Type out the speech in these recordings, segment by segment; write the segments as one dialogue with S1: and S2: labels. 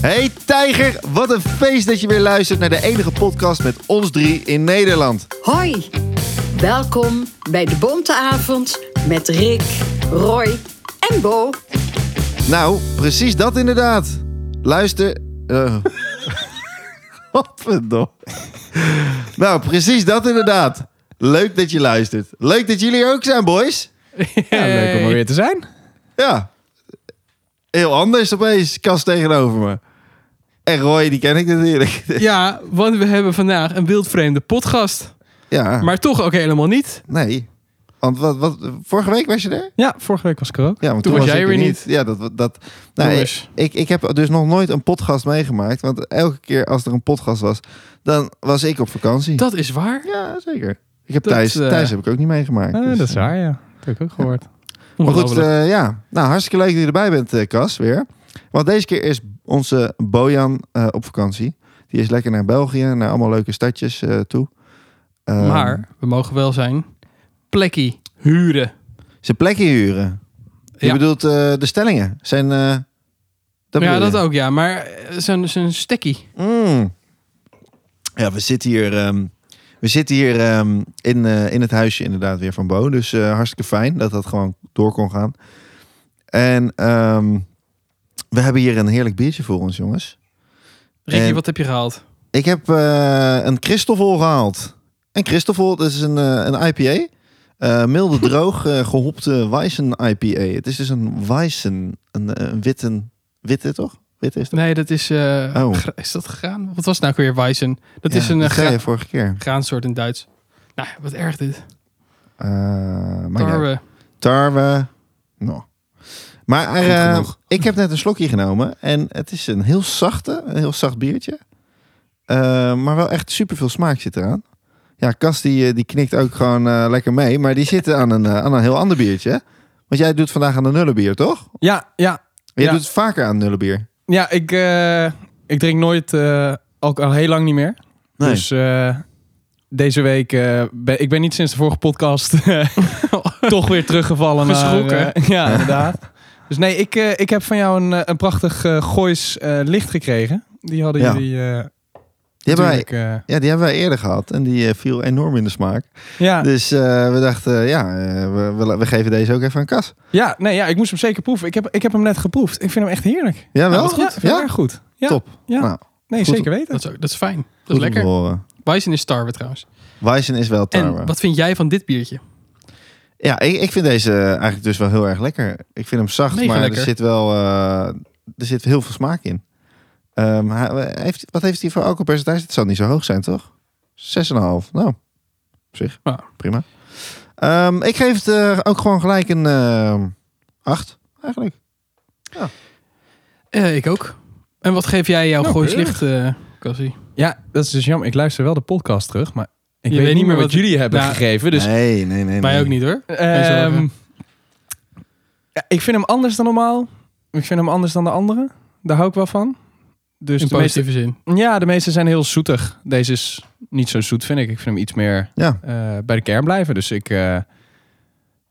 S1: Hey Tijger, wat een feest dat je weer luistert naar de enige podcast met ons drie in Nederland.
S2: Hoi, welkom bij de Bonte Avond met Rick, Roy en Bo.
S1: Nou, precies dat inderdaad. Luister. eh Godverdomme. nou, precies dat inderdaad. Leuk dat je luistert. Leuk dat jullie er ook zijn, boys.
S3: Ja, leuk om er weer te zijn.
S1: Ja. Heel anders opeens, kast tegenover me. En Roy, die ken ik natuurlijk.
S3: Ja, want we hebben vandaag een wildvreemde podcast.
S1: ja,
S3: Maar toch ook helemaal niet.
S1: nee. Want wat, wat, vorige week was je er?
S3: Ja, vorige week was ik er ook.
S1: Ja, want
S3: toen, was jij
S1: ik
S3: er weer niet.
S1: Ja, dat, dat, nou, ik,
S3: Jongens.
S1: ik, ik heb dus nog nooit een podcast meegemaakt. Want elke keer als er een podcast was, dan was ik op vakantie.
S3: Dat is waar.
S1: Ja, zeker. Ik heb
S3: Dat,
S1: thuis,
S3: eh,
S1: thuis heb ik ook niet meegemaakt.
S3: Eh,
S1: dus,
S3: dat is
S1: eh,
S3: waar, ja. Dat heb ik ook gehoord.
S1: Maar goed,
S3: Ongelooflijk.
S1: eh, ja. Nou, hartstikke leuk dat je erbij bent, eh, Cas, weer. Want deze keer is onze Bojan eh, op vakantie. Die is lekker naar België, naar allemaal leuke stadjes eh, toe. Ehm,
S3: maar we mogen wel zijn plekkie huren.
S1: Zijn plekje huren. Je
S3: Ja.
S1: bedoelt eh, de stellingen. Zijn... eh, bedoel
S3: ja,
S1: je?
S3: dat ook, ja. Maar eh, zo'n zo'n stekkie.
S1: Mm. Ja, we zitten hier, ehm, we zitten hier ehm, in, eh, in het huisje inderdaad weer van Bo. Dus eh, hartstikke fijn dat dat gewoon door kon gaan. En ehm, we hebben hier een heerlijk biertje voor ons, jongens.
S3: Ricky,
S1: En-
S3: wat heb je gehaald?
S1: Ik heb eh, een Christoffel gehaald. En Christoffel, dat is een, eh, een IPA. Eh, milde, droog, eh, gehopte Weizen IPA. Het is dus een Weizen, een, een witte, witte toch? Witte is dat?
S3: Nee, dat is... eh,
S1: Oh.
S3: gra- Is dat graan? Wat was het nou ook weer Weizen? Dat
S1: Ja,
S3: is een eh,
S1: dat zei
S3: gra-
S1: je vorige keer.
S3: graansoort in Duits. Nou, wat erg dit.
S1: Eh, maar ja.
S3: Tarwe.
S1: Tarwe. No. Maar
S3: Goed
S1: eh,
S3: genoeg.
S1: ik heb net een slokje genomen en het is een heel zachte, een heel zacht biertje. Eh, maar wel echt super veel smaak zit eraan. Ja, Cas die, eh, die knikt ook gewoon eh, lekker mee, maar die zit aan een, eh, aan een heel ander biertje. hè? Want jij doet vandaag aan de nullenbier, toch?
S3: Ja, ja,
S1: Jij
S3: Ja.
S1: doet het vaker aan nullenbier.
S3: Ja, ik, eh, ik drink nooit eh alcohol al heel lang niet meer. Dus eh, deze week, eh, ben, ik ben niet sinds de vorige podcast eh, toch weer teruggevallen. naar, Geschrokken. eh, ja, inderdaad. Dus nee, ik, eh, ik heb van jou een, eh, een prachtig eh, Goois eh, licht gekregen. Die hadden
S1: Ja.
S3: jullie eh
S1: die, hebben wij,
S3: natuurlijk... eh,
S1: ja, die hebben wij eerder gehad en die eh, viel enorm in de smaak.
S3: ja.
S1: Dus eh, we dachten, ja, eh, we, we, we geven deze ook even aan Cas.
S3: Ja, nee, ja, ik moest hem zeker proeven. Ik heb, ik heb hem net geproefd. Ik vind hem echt heerlijk.
S1: Ja, wel?
S3: Ja, wat goed.
S1: Ja?
S3: Ja, goed. Ja.
S1: Top.
S3: Ja.
S1: Nou,
S3: Nee,
S1: Goed.
S3: zeker weten.
S4: Dat is, ook- dat is fijn. Dat is
S1: goed om te
S4: lekker.
S1: horen.
S4: Bison is tarwe trouwens.
S1: Weizen is wel tarwe.
S4: En wat vind jij van dit biertje?
S1: Ja, ik, ik vind deze eh, eigenlijk dus wel heel erg lekker. Ik vind hem zacht,
S4: Mega
S1: maar er
S4: lekker.
S1: zit wel eh, er zit heel veel smaak in. Ehm, hij- heeft, wat heeft hij voor alcoholpercentage? Het zal niet zo hoog zijn, toch? 6,5. Nou, op zich.
S3: Ja.
S1: Prima. Ehm, ik geef het eh, ook gewoon gelijk een 8, eigenlijk.
S4: Eh, ik ook. En wat geef jij jouw
S3: Nou,
S4: goois
S3: keurig.
S4: licht, eh Cassie?
S3: Ja, dat is dus jammer. Ik luister wel de podcast terug, maar ik
S4: Je
S3: weet, niet meer wat, jullie hebben
S4: Nou,
S3: gegeven. Dus
S1: nee, nee, nee.
S4: Mij
S1: nee.
S4: ook niet hoor.
S3: Ehm,
S4: zorgen.
S3: ja, ik vind hem anders dan normaal. Ik vind hem anders dan de andere. Daar hou ik wel van. Dus
S4: In
S3: de meeste,
S4: positieve zin.
S3: ja, de meeste zijn heel zoetig. Deze is niet zo zoet, vind ik. Ik vind hem iets meer
S1: Ja.
S3: eh, bij de kern blijven. Dus ik. eh,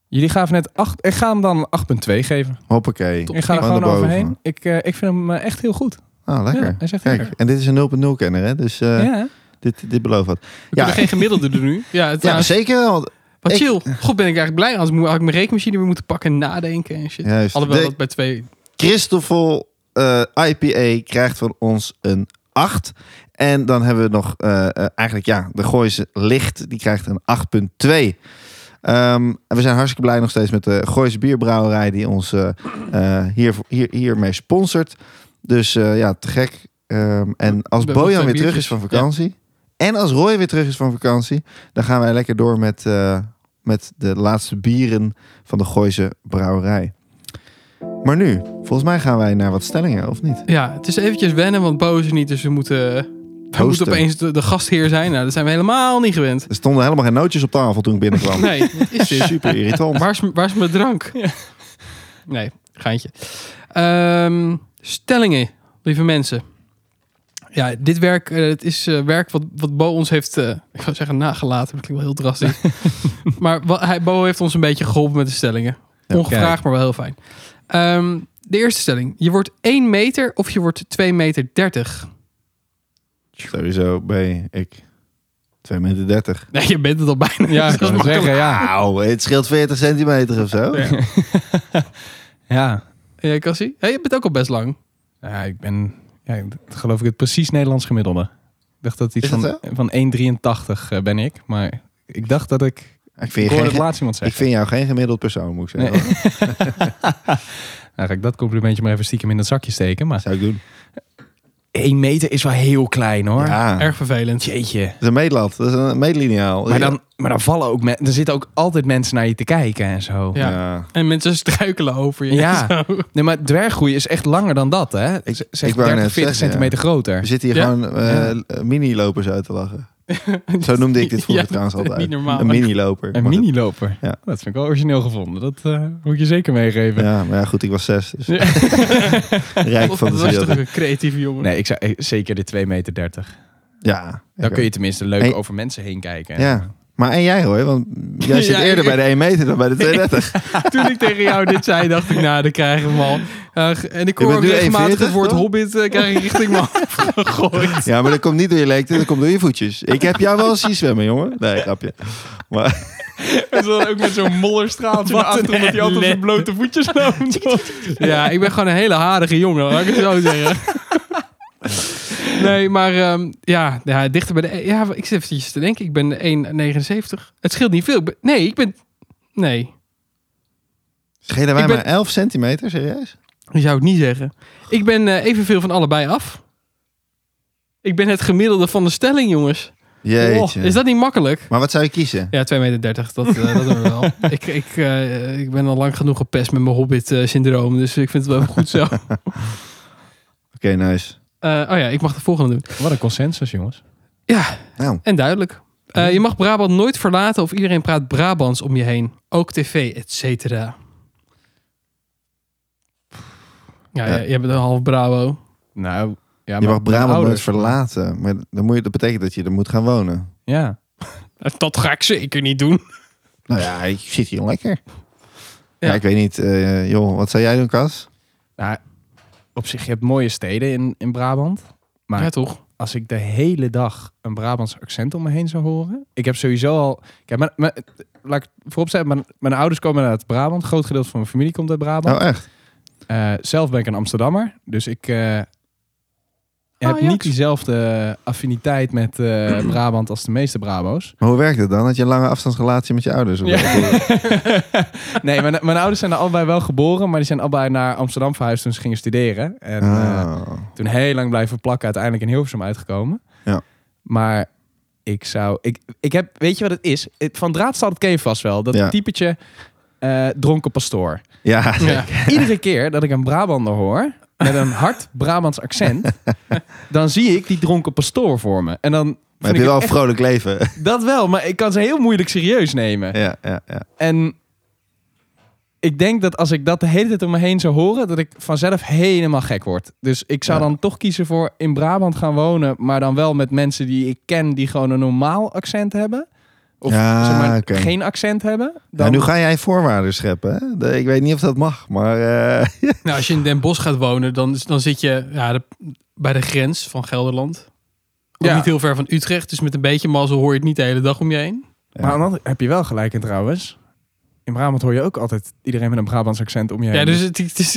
S3: jullie gaven net 8. Ik ga hem dan 8,2 geven.
S1: Hoppakee.
S4: Top.
S3: Ik ga er
S1: Gewoon
S3: gewoon
S1: naar boven.
S3: overheen. Ik, eh, ik vind hem eh, echt heel goed.
S1: Ah, lekker.
S3: Ja, hij is echt
S1: Kijk,
S3: lekker.
S1: en dit is een 0.0 kenner, hè? Dus eh,
S3: Ja, hè?
S1: dit, dit belooft wat.
S4: We
S1: Ja,
S4: kunnen geen gemiddelde doen nu. Ja, het,
S1: Ja,
S4: nou,
S1: zeker wel. want-
S4: wat
S1: ik-
S4: chill. God ben ik eigenlijk blij. Anders moet- had ik mijn rekenmachine weer moeten pakken en nadenken en shit.
S1: Juist.
S4: Alhoewel
S1: De-
S4: dat bij twee...
S1: Christoffel eh, IPA krijgt van ons een 8. En dan hebben we nog eh, eh, eigenlijk ja, de Gooise Licht, die krijgt een 8.2. Ehm, en we zijn hartstikke blij nog steeds met de Gooise Bierbrouwerij die ons eh, eh, hier, hier, hiermee sponsort. Dus eh, ja, te gek. Ehm, en als
S4: ben wel
S1: Bojan
S4: twee
S1: weer terug is
S4: biertjes.
S1: van vakantie en als Roy weer terug is van vakantie, dan gaan wij lekker door met, eh, met de laatste bieren van de Gooise Brouwerij. Maar nu, volgens mij gaan wij naar wat stellingen, of niet?
S4: Ja, het is eventjes wennen, want Bo is er niet. Dus we moeten, we
S1: Hosten.
S4: moeten opeens de, de gastheer zijn. Nou, dat zijn we helemaal niet gewend.
S1: Er stonden helemaal geen nootjes op tafel toen ik binnenkwam.
S4: Nee, wat is dit?
S1: Super irritant.
S4: Waar is, m- waar is mijn drank? Nee, geintje. Ehm, stellingen, lieve mensen. Ja, dit werk, eh, het is eh, werk wat, wat Bo ons heeft, eh, ik wil zeggen nagelaten, dat klinkt wel heel drastisch. maar wa- hij, Bo heeft ons een beetje geholpen met de stellingen.
S1: Ja,
S4: Ongevraagd, maar wel heel fijn. Ehm, De eerste stelling. Je wordt 1 meter of je wordt 2 meter 30.
S1: Sowieso ben ik 2 meter 30.
S4: Nee, je bent het al bijna.
S3: Ja,
S4: Dat
S3: ik
S4: is
S3: wou
S4: makkelijk.
S3: zeggen, ja.
S1: Auw, het scheelt 40 centimeter of zo.
S3: Ja.
S4: Ja, Cassie? Ja, je bent ook al best lang.
S3: ja, ik ben, ja, ik- geloof ik, het precies Nederlands gemiddelde. Ik dacht dat iets
S1: Is dat
S3: van, van 1,83 eh, ben ik. Maar ik dacht dat ik...
S1: Ik
S3: Ik
S1: vind, je
S3: hoorde
S1: geen,
S3: het laatst iemand
S1: ik
S3: zeggen.
S1: vind jou geen gemiddeld persoon, moet ik zeggen.
S3: Nou, ga ik dat complimentje maar even stiekem in het zakje steken. Maar
S1: zou ik doen.
S3: 1 meter is wel heel klein, hoor.
S1: Ja, dat
S4: Erg vervelend.
S3: Jeetje.
S1: is een meetlat. Dat is een meetliniaal.
S3: Maar dan, maar dan vallen ook men, er zitten ook altijd mensen naar je te kijken en zo.
S4: Ja.
S1: Ja.
S4: En mensen struikelen over je.
S3: Ja.
S4: Zo.
S3: Nee, maar dwerggroei is echt langer dan dat, hè? Ik, zeg
S1: ik wou
S3: 30, 40
S1: net zeggen, Dus
S3: centimeter
S1: We
S3: groter.
S1: zitten hier
S4: Ja?
S1: gewoon eh, mini-lopers uit te lachen. Zo noemde ik dit vroeger
S4: Ja,
S1: trouwens
S4: dat is
S1: altijd.
S4: niet normaal.
S1: Een mini-loper.
S3: Een
S1: Maar goed.
S3: miniloper.
S1: Ja.
S3: Dat vind ik wel origineel gevonden. Dat eh, moet ik je zeker meegeven.
S1: Ja, maar ja, goed, ik was zes. Dus
S4: Ja.
S1: rijk
S4: Of
S1: van
S4: dat
S1: de
S4: was toch
S1: wereld.
S4: een creatieve jongen.
S3: Nee, ik zou eh, zeker de 2,30 meter. 30.
S1: Ja,
S3: Dan kun je tenminste leuk
S1: Hey.
S3: over mensen heen kijken.
S1: Ja. Maar en jij hoor, want jij zit
S4: Ja,
S1: eerder
S4: ik-
S1: bij de 1 meter dan bij de 230.
S4: Toen ik tegen jou dit zei, dacht ik, nou, dan krijgen we hem al. Eh, en ik
S1: Je
S4: hoor
S1: bent
S4: ook
S1: nu
S4: regelmatig
S1: 41,
S4: het woord
S1: toch?
S4: hobbit eh, krijg ik richting me gegooid.
S1: Ja, maar dat komt niet door je lengte, dat komt door je voetjes. Ik heb jou wel eens zien zwemmen, jongen. Nee, grapje. Maar
S4: En dan ook met zo'n mollerstraaltje naar achter, omdat hij altijd op zijn blote voetjes loopt. ja, ik ben gewoon een hele harige jongen, laat ik het zo zeggen. Nee, maar ehm, ja, ja, dichter bij de... Ja, ik zit eventjes te denken, ik ben de 1,79. Het scheelt niet veel. Ik ben- nee, ik ben... Nee,
S1: schelen wij
S4: Ik ben-
S1: maar 11 centimeter, serieus?
S4: ik zou het niet zeggen. Ik ben eh, evenveel van allebei af. Ik ben het gemiddelde van de stelling, jongens.
S1: Jeetje.
S4: Oh, is dat niet makkelijk?
S1: Maar wat zou je kiezen?
S4: Ja, 2,30 meter, dat, eh, dat hebben we wel. ik, ik, eh, ik ben al lang genoeg gepest met mijn hobbit-syndroom, dus ik vind het wel even goed zo.
S1: Oké, nice.
S4: Eh, oh ja, ik mag de volgende doen.
S3: Wat een consensus, jongens.
S4: Ja,
S1: Nou,
S4: en duidelijk. Eh, je mag Brabant nooit verlaten of iedereen praat Brabants om je heen. Ook tv, et cetera. Ja,
S1: Ja.
S4: jij- jij bent een half Bravo.
S3: Nou, ja,
S1: je
S3: maar
S1: mag Brabant nooit
S3: ouders-
S1: verlaten. Maar dan moet je, dat betekent dat je er moet gaan wonen.
S3: Ja.
S4: Dat ga ik zeker niet doen.
S1: Nou ja, ik zit hier lekker. Ja,
S4: Ja.
S1: ik weet niet. eh, joh, wat zou jij doen, Kas?
S3: Nou, op zich, je hebt mooie steden in, in Brabant. Maar
S4: Ja, toch?
S3: als ik de hele dag een Brabants accent om me heen zou horen. Ik heb sowieso al. Kijk, mijn, mijn, laat ik vooropstellen, mijn, mijn ouders komen uit Brabant. Groot gedeelte van mijn familie komt uit Brabant.
S1: Nou, echt?
S3: Eh, zelf ben ik een Amsterdammer. Dus ik
S1: Oh,
S3: eh, heb
S4: Ajax.
S3: niet diezelfde affiniteit met eh, Brabant als de meeste Brabo's.
S1: Maar hoe werkt het dan? Had je een lange afstandsrelatie met je ouders? Of wat?
S3: nee, mijn, mijn ouders zijn er allebei wel geboren, maar die zijn allebei naar Amsterdam verhuisd toen ze gingen studeren. En, eh,
S1: Ah.
S3: toen heel lang blijven plakken, uiteindelijk in Hilversum uitgekomen.
S1: Ja.
S3: Maar ik zou, ik, ik heb, weet je wat het is? Het- Van Draadstad ken je vast wel, dat
S1: Ja.
S3: typetje eh, dronken pastoor.
S1: Ja,
S4: Ja.
S3: Iedere keer dat ik een Brabander hoor met een hard Brabants accent, dan zie ik die dronken pastoor voor me. En dan
S1: maar
S3: vind
S1: heb je
S3: ik
S1: wel een
S3: het echt-
S1: vrolijk leven?
S3: dat wel, maar ik kan ze heel moeilijk serieus nemen.
S1: ja, ja, ja.
S3: En ik denk dat als ik dat de hele tijd om me heen zou horen, dat ik vanzelf helemaal gek word. Dus ik zou
S1: Ja.
S3: dan toch kiezen voor in Brabant gaan wonen, maar dan wel met mensen die ik ken die gewoon een normaal accent hebben. Of
S1: Ja,
S3: zeg maar,
S1: Ah, oké.
S3: geen accent hebben. Dan...
S1: Nou, nu ga jij voorwaarden scheppen. Hè? De- Ik weet niet of dat mag, maar... eh,
S4: Nou, als je in Den Bosch gaat wonen, dan, dan zit je ja, de- bij de grens van Gelderland. Ook
S3: Ja.
S4: niet heel ver van Utrecht, dus met een beetje mazzel hoor je het niet de hele dag om je heen.
S1: Ja.
S3: Maar dan heb je wel gelijk in trouwens. In Brabant hoor je ook altijd iedereen met een Brabants accent om je heen.
S4: Ja, dus het, het is...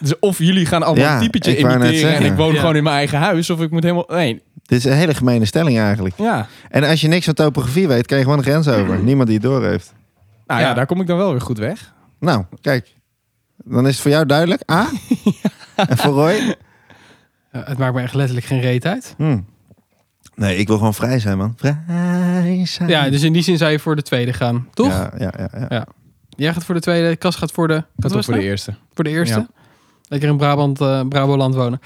S3: Dus of jullie gaan allemaal
S1: Ja,
S3: een typetje
S1: ik wou net
S3: imiteren en
S1: zeggen.
S3: ik woon
S4: Ja.
S3: gewoon in mijn eigen huis. Of ik moet helemaal... Nee,
S1: dit is een hele gemene stelling eigenlijk.
S3: ja.
S1: En als je niks van topografie weet, kan je gewoon een grens over. Niemand die het door heeft.
S3: Nou
S4: Ja.
S3: ja, daar kom ik dan wel weer goed weg.
S1: Nou, kijk. Dan is het voor jou duidelijk. A. En voor Roy?
S4: Ja, het maakt me echt letterlijk geen reet uit.
S1: Hm. Nee, ik wil gewoon vrij zijn, man. Vrij zijn.
S4: Ja, dus in die zin zou je voor de tweede gaan, toch?
S1: Ja, ja, ja, ja.
S4: Jij gaat voor de tweede, Kas gaat voor de...
S3: Dat
S4: wat
S3: toch
S4: was
S3: voor de
S4: het nou?
S3: eerste.
S4: Voor de eerste. Lekker in Brabant, eh Braboland wonen.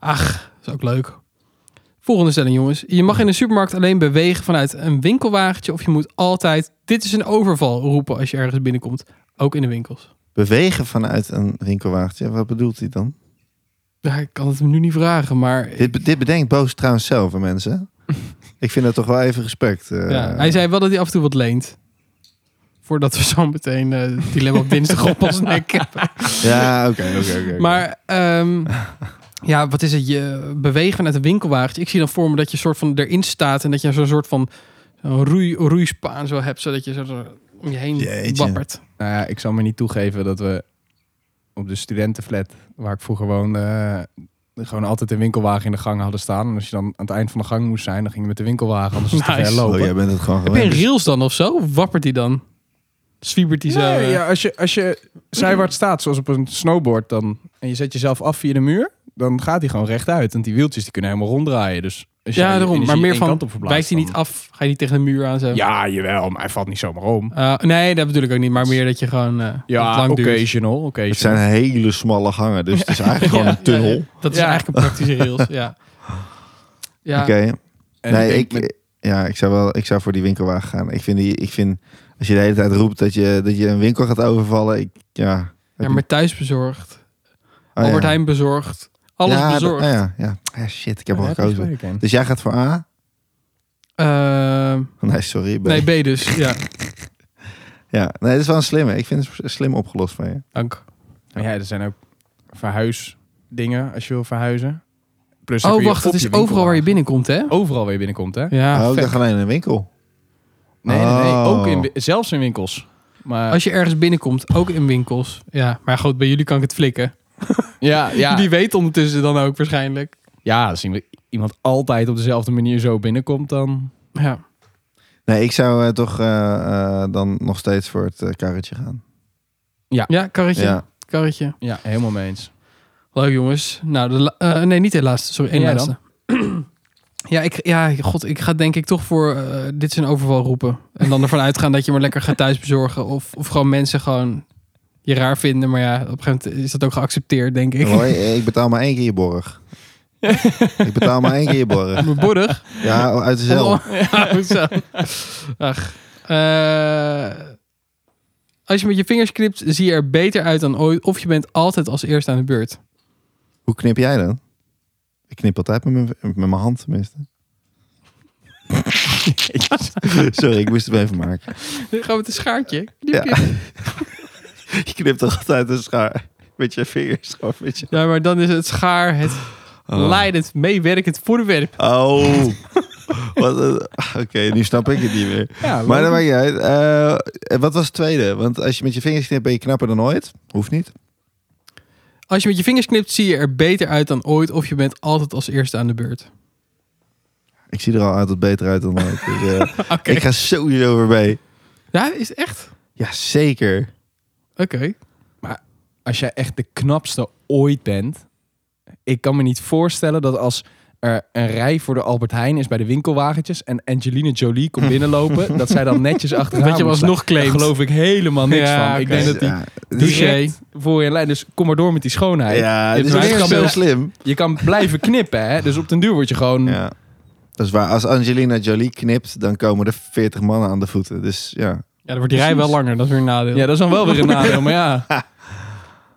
S4: Ach, is ook leuk. Volgende stelling, jongens. Je mag in de supermarkt alleen bewegen vanuit een winkelwagentje... of je moet altijd, dit is een overval, roepen als je ergens binnenkomt. Ook in de winkels.
S1: Bewegen vanuit een winkelwagentje. Wat bedoelt hij dan?
S4: Ja, ik kan het hem nu niet vragen, maar...
S1: Dit, be- dit bedenkt Boos trouwens zelf, hè, mensen. ik vind dat toch wel even respect. eh,
S4: ja, hij zei wel dat hij af en toe wat leent. Voordat we zo meteen eh, het dilemma op dinsdag op ons nek hebben.
S1: Ja, oké, oké, oké, oké.
S4: Maar ehm, ja, wat is het? Je beweegt vanuit een winkelwagentje. Ik zie dan voor me dat je soort van erin staat en dat je zo'n soort van zo'n roei, roeispaan zo hebt, zodat je zo zo om je heen
S1: Jeetje.
S4: wappert.
S3: Nou ja, ik zal me niet toegeven dat we op de studentenflat waar ik vroeger woonde, eh, gewoon altijd een winkelwagen in de gang hadden staan. En als je dan aan het eind van de gang moest zijn, dan ging je met de winkelwagen, anders was het te
S4: Nice.
S3: ver
S1: Oh,
S3: lopen.
S1: jij bent het gewoon
S4: Heb je
S1: gewend.
S4: een
S3: dus-
S4: rails dan of zo? Of Wappert die dan? Zwiebert die zo?
S3: Nee,
S4: eh?
S3: ja, als je, als je zijwaarts staat, zoals op een snowboard, dan, en je zet jezelf af via de muur, dan gaat hij gewoon rechtuit. Want die wieltjes die kunnen helemaal ronddraaien. Dus als
S4: Ja,
S3: jij je
S4: daarom.
S3: energie
S4: Maar meer
S3: één
S4: van,
S3: kant op verplaatst,
S4: Wijkt hij niet
S3: dan-
S4: af? Ga je niet tegen de muur aan zo?
S3: Ja, jawel, maar hij valt niet zomaar om.
S4: Eh, nee, dat bedoel ik ook niet. Maar meer dat je gewoon eh, dat het
S3: Ja,
S4: lang duurt.
S3: occasional. occasional.
S1: Het zijn hele smalle gangen, dus het is eigenlijk gewoon
S4: Ja,
S1: een tunnel.
S4: ja, ja. dat is
S3: Ja.
S4: eigenlijk een praktische rails. Ja. Ja.
S1: Oké.
S3: En
S1: Nee, ik,
S3: denk met-
S1: ja, ik, zou wel, ik zou voor die winkelwagen gaan. Ik vind, die, ik vind als je de hele tijd roept dat je, dat je een winkel gaat overvallen, ik, ja.
S4: ja, maar thuis bezorgd.
S1: Oh, ja.
S4: Albert Heijn bezorgd. Alles
S1: Ja, dat-
S4: bezorgd.
S1: oh, ja, ja. Ah, shit, ik heb al
S3: Ja, dat is
S1: gekozen.
S3: leuk, hè.
S1: Dus jij gaat voor A?
S4: Ehm,
S1: Nee, sorry. B.
S4: nee, B dus. Ja,
S1: Ja, nee, dat is wel een slimme. Ik vind het slim opgelost van je.
S4: dank.
S3: Maar ja, er zijn ook verhuisdingen als je wil verhuizen. Plus dan
S4: Oh,
S3: kun je
S4: wacht.
S3: op
S4: Het is
S3: je
S4: overal waar je
S3: winkelwagen-
S4: binnenkomt, hè?
S3: Overal waar je binnenkomt, hè?
S4: Ja,
S1: oh, ik
S4: Ah, vet.
S1: dacht alleen in een winkel.
S3: Nee, nee, nee.
S1: Oh.
S3: Ook in, wi- zelfs in winkels. Maar,
S4: Als je ergens binnenkomt, ook in winkels. Ja, maar goed, bij jullie kan ik het flikken.
S3: ja, ja.
S4: Die weet ondertussen dan ook waarschijnlijk.
S3: ja, als iemand- iemand altijd op dezelfde manier zo binnenkomt, dan...
S4: Ja.
S1: Nee, ik zou eh, toch eh, eh, dan nog steeds voor het eh, karretje gaan.
S4: Ja, karretje.
S1: Ja.
S4: Karretje.
S3: Ja, helemaal mee eens.
S4: Leuk jongens. Nou, de la- eh, nee, niet de laatste. Sorry, één
S3: En jij
S4: laatste. Ja, ik, ja, god, ik ga denk ik toch voor eh, dit is een overval roepen. En dan ervan uitgaan dat je maar lekker gaat thuis bezorgen. Of, of gewoon mensen gewoon je raar vinden. Maar ja, op een gegeven moment is dat ook geaccepteerd, denk ik.
S1: Roy, eh, ik betaal maar één keer je borg. ik betaal maar één keer je borg.
S4: Mijn borg.
S1: Ja, uit de
S4: Oh.
S1: zeil.
S4: Ja, hoezo? Ach. Eh, als je met je vingers knipt, zie je er beter uit dan ooit. Of je bent altijd als eerste aan de beurt.
S1: Hoe knip jij dan? Ik knip altijd met mijn, met mijn hand tenminste. Sorry, ik moest het even maken.
S4: Gaan we met een schaartje?
S1: Ja. Je knipt toch altijd een schaar met je vingers. Gewoon met je...
S4: Ja, maar dan is het schaar het leidend, meewerkend voorwerp.
S1: Oh. Wat een- Ah, Oké, nu snap ik het niet meer.
S3: Ja,
S1: Maar dat maakt niet uit. Eh, wat was het tweede? Want als je met je vingers knipt, ben je knapper dan ooit. Hoeft niet.
S4: Als je met je vingers knipt, zie je er beter uit dan ooit. Of je bent altijd als eerste aan de beurt.
S1: Ik zie er al altijd beter uit dan ooit. Dus, eh,
S4: Oké.
S1: Ik ga sowieso voorbij.
S4: Ja, is het echt?
S1: Ja, zeker.
S4: Oké.
S3: als jij echt de knapste ooit bent. Ik kan me niet voorstellen dat als er een rij voor de Albert Heijn is bij de winkelwagentjes en Angelina Jolie komt binnenlopen, dat zij dan netjes achteraan
S4: Dat je hem
S3: moet
S4: alsnog
S3: staan. Daar
S4: claimt.
S3: geloof ik helemaal niks
S4: Ja,
S3: van. Ik
S4: oké.
S3: denk dat die
S1: ja,
S4: Touché.
S3: direct voor je in lijn. Dus kom maar door met die schoonheid.
S1: ja, dit is
S3: maar het
S1: echt
S3: kan
S1: zo
S3: wel-
S1: slim.
S3: Je kan blijven knippen, hè? Dus op den duur word je gewoon.
S4: Mm.
S1: Ja. Dat is waar. Als Angelina Jolie knipt, dan komen er 40 mannen aan de voeten. Dus ja.
S4: Ja, dan wordt die rij wel
S3: Precies.
S4: langer. Dat is weer een nadeel.
S3: Ja, dat is dan wel weer een nadeel. Maar ja,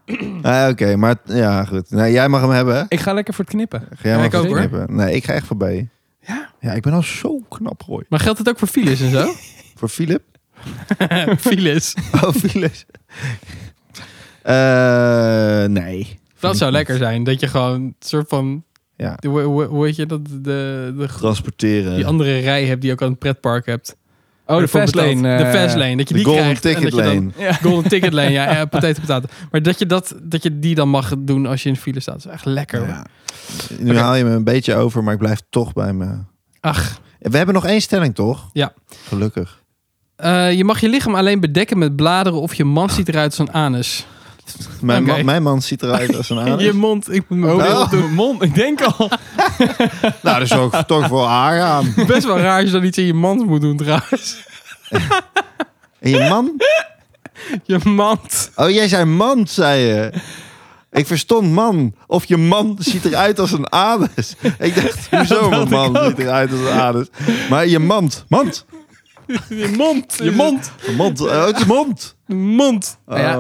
S4: Mm.
S1: Ah, Oké, maar ja, goed. Nee, jij mag hem hebben. hè?
S3: ik ga lekker voor het knippen. Oh,
S1: Ga jij
S4: Ja,
S1: maar
S4: ik ook, hoor.
S1: knippen. Nee, ik ga echt voorbij.
S4: Ja?
S1: Ja, ik ben al zo knap, Roy.
S4: Maar geldt het ook voor files en zo?
S1: Voor Philip.
S4: files.
S1: Oh, Philip. Eh, nee.
S4: Dat zou lekker zijn. Dat je gewoon een soort van.
S1: Ja.
S4: de- hoe- hoe- Hoe heet je dat? De, de,
S1: Transporteren.
S4: die andere rij hebt die je ook aan het pretpark hebt.
S3: Oh, de
S4: Ervoor
S3: fastlane.
S4: betaald.
S3: eh,
S4: De fastlane. Dat je
S1: de
S4: die
S1: golden
S4: krijgt. en
S1: ticket
S4: dat je dan-
S1: lane.
S3: Ja.
S4: golden ticket lane. Ja, ja potato, potato. Maar dat je, dat, dat je die dan mag doen als je in de file staat. Dat is echt lekker. hoor.
S1: Ja. Nu
S4: Oké.
S1: haal je me een beetje over, maar ik blijf toch bij me.
S4: Ach.
S1: We hebben nog één stelling, toch?
S4: Ja.
S1: Gelukkig.
S4: Eh, je mag je lichaam alleen bedekken met bladeren of je man ziet eruit als een anus.
S1: Mijn,
S4: Oké.
S1: man, mijn man ziet eruit als een
S3: Ah,
S1: anus.
S4: Je mond. Ik moet mijn
S1: Oh.
S4: bril
S1: Oh.
S4: opdoen.
S3: Mond, ik denk al.
S1: Nou, dat is ook toch voor haar aan.
S4: Best wel raar als je dan iets in je mand moet doen trouwens.
S1: En je man?
S4: Je mand.
S1: Oh, jij zei man, zei je. Ik verstond man. Of je man ziet eruit als een anus. Ik dacht, hoezo mijn man ziet eruit als een anus? Maar je mand. Mand.
S4: Je mond. Je
S3: Je
S4: mond.
S1: Een Mond. Oh, het is mond.
S4: Mond.
S1: Oh.
S3: Ja.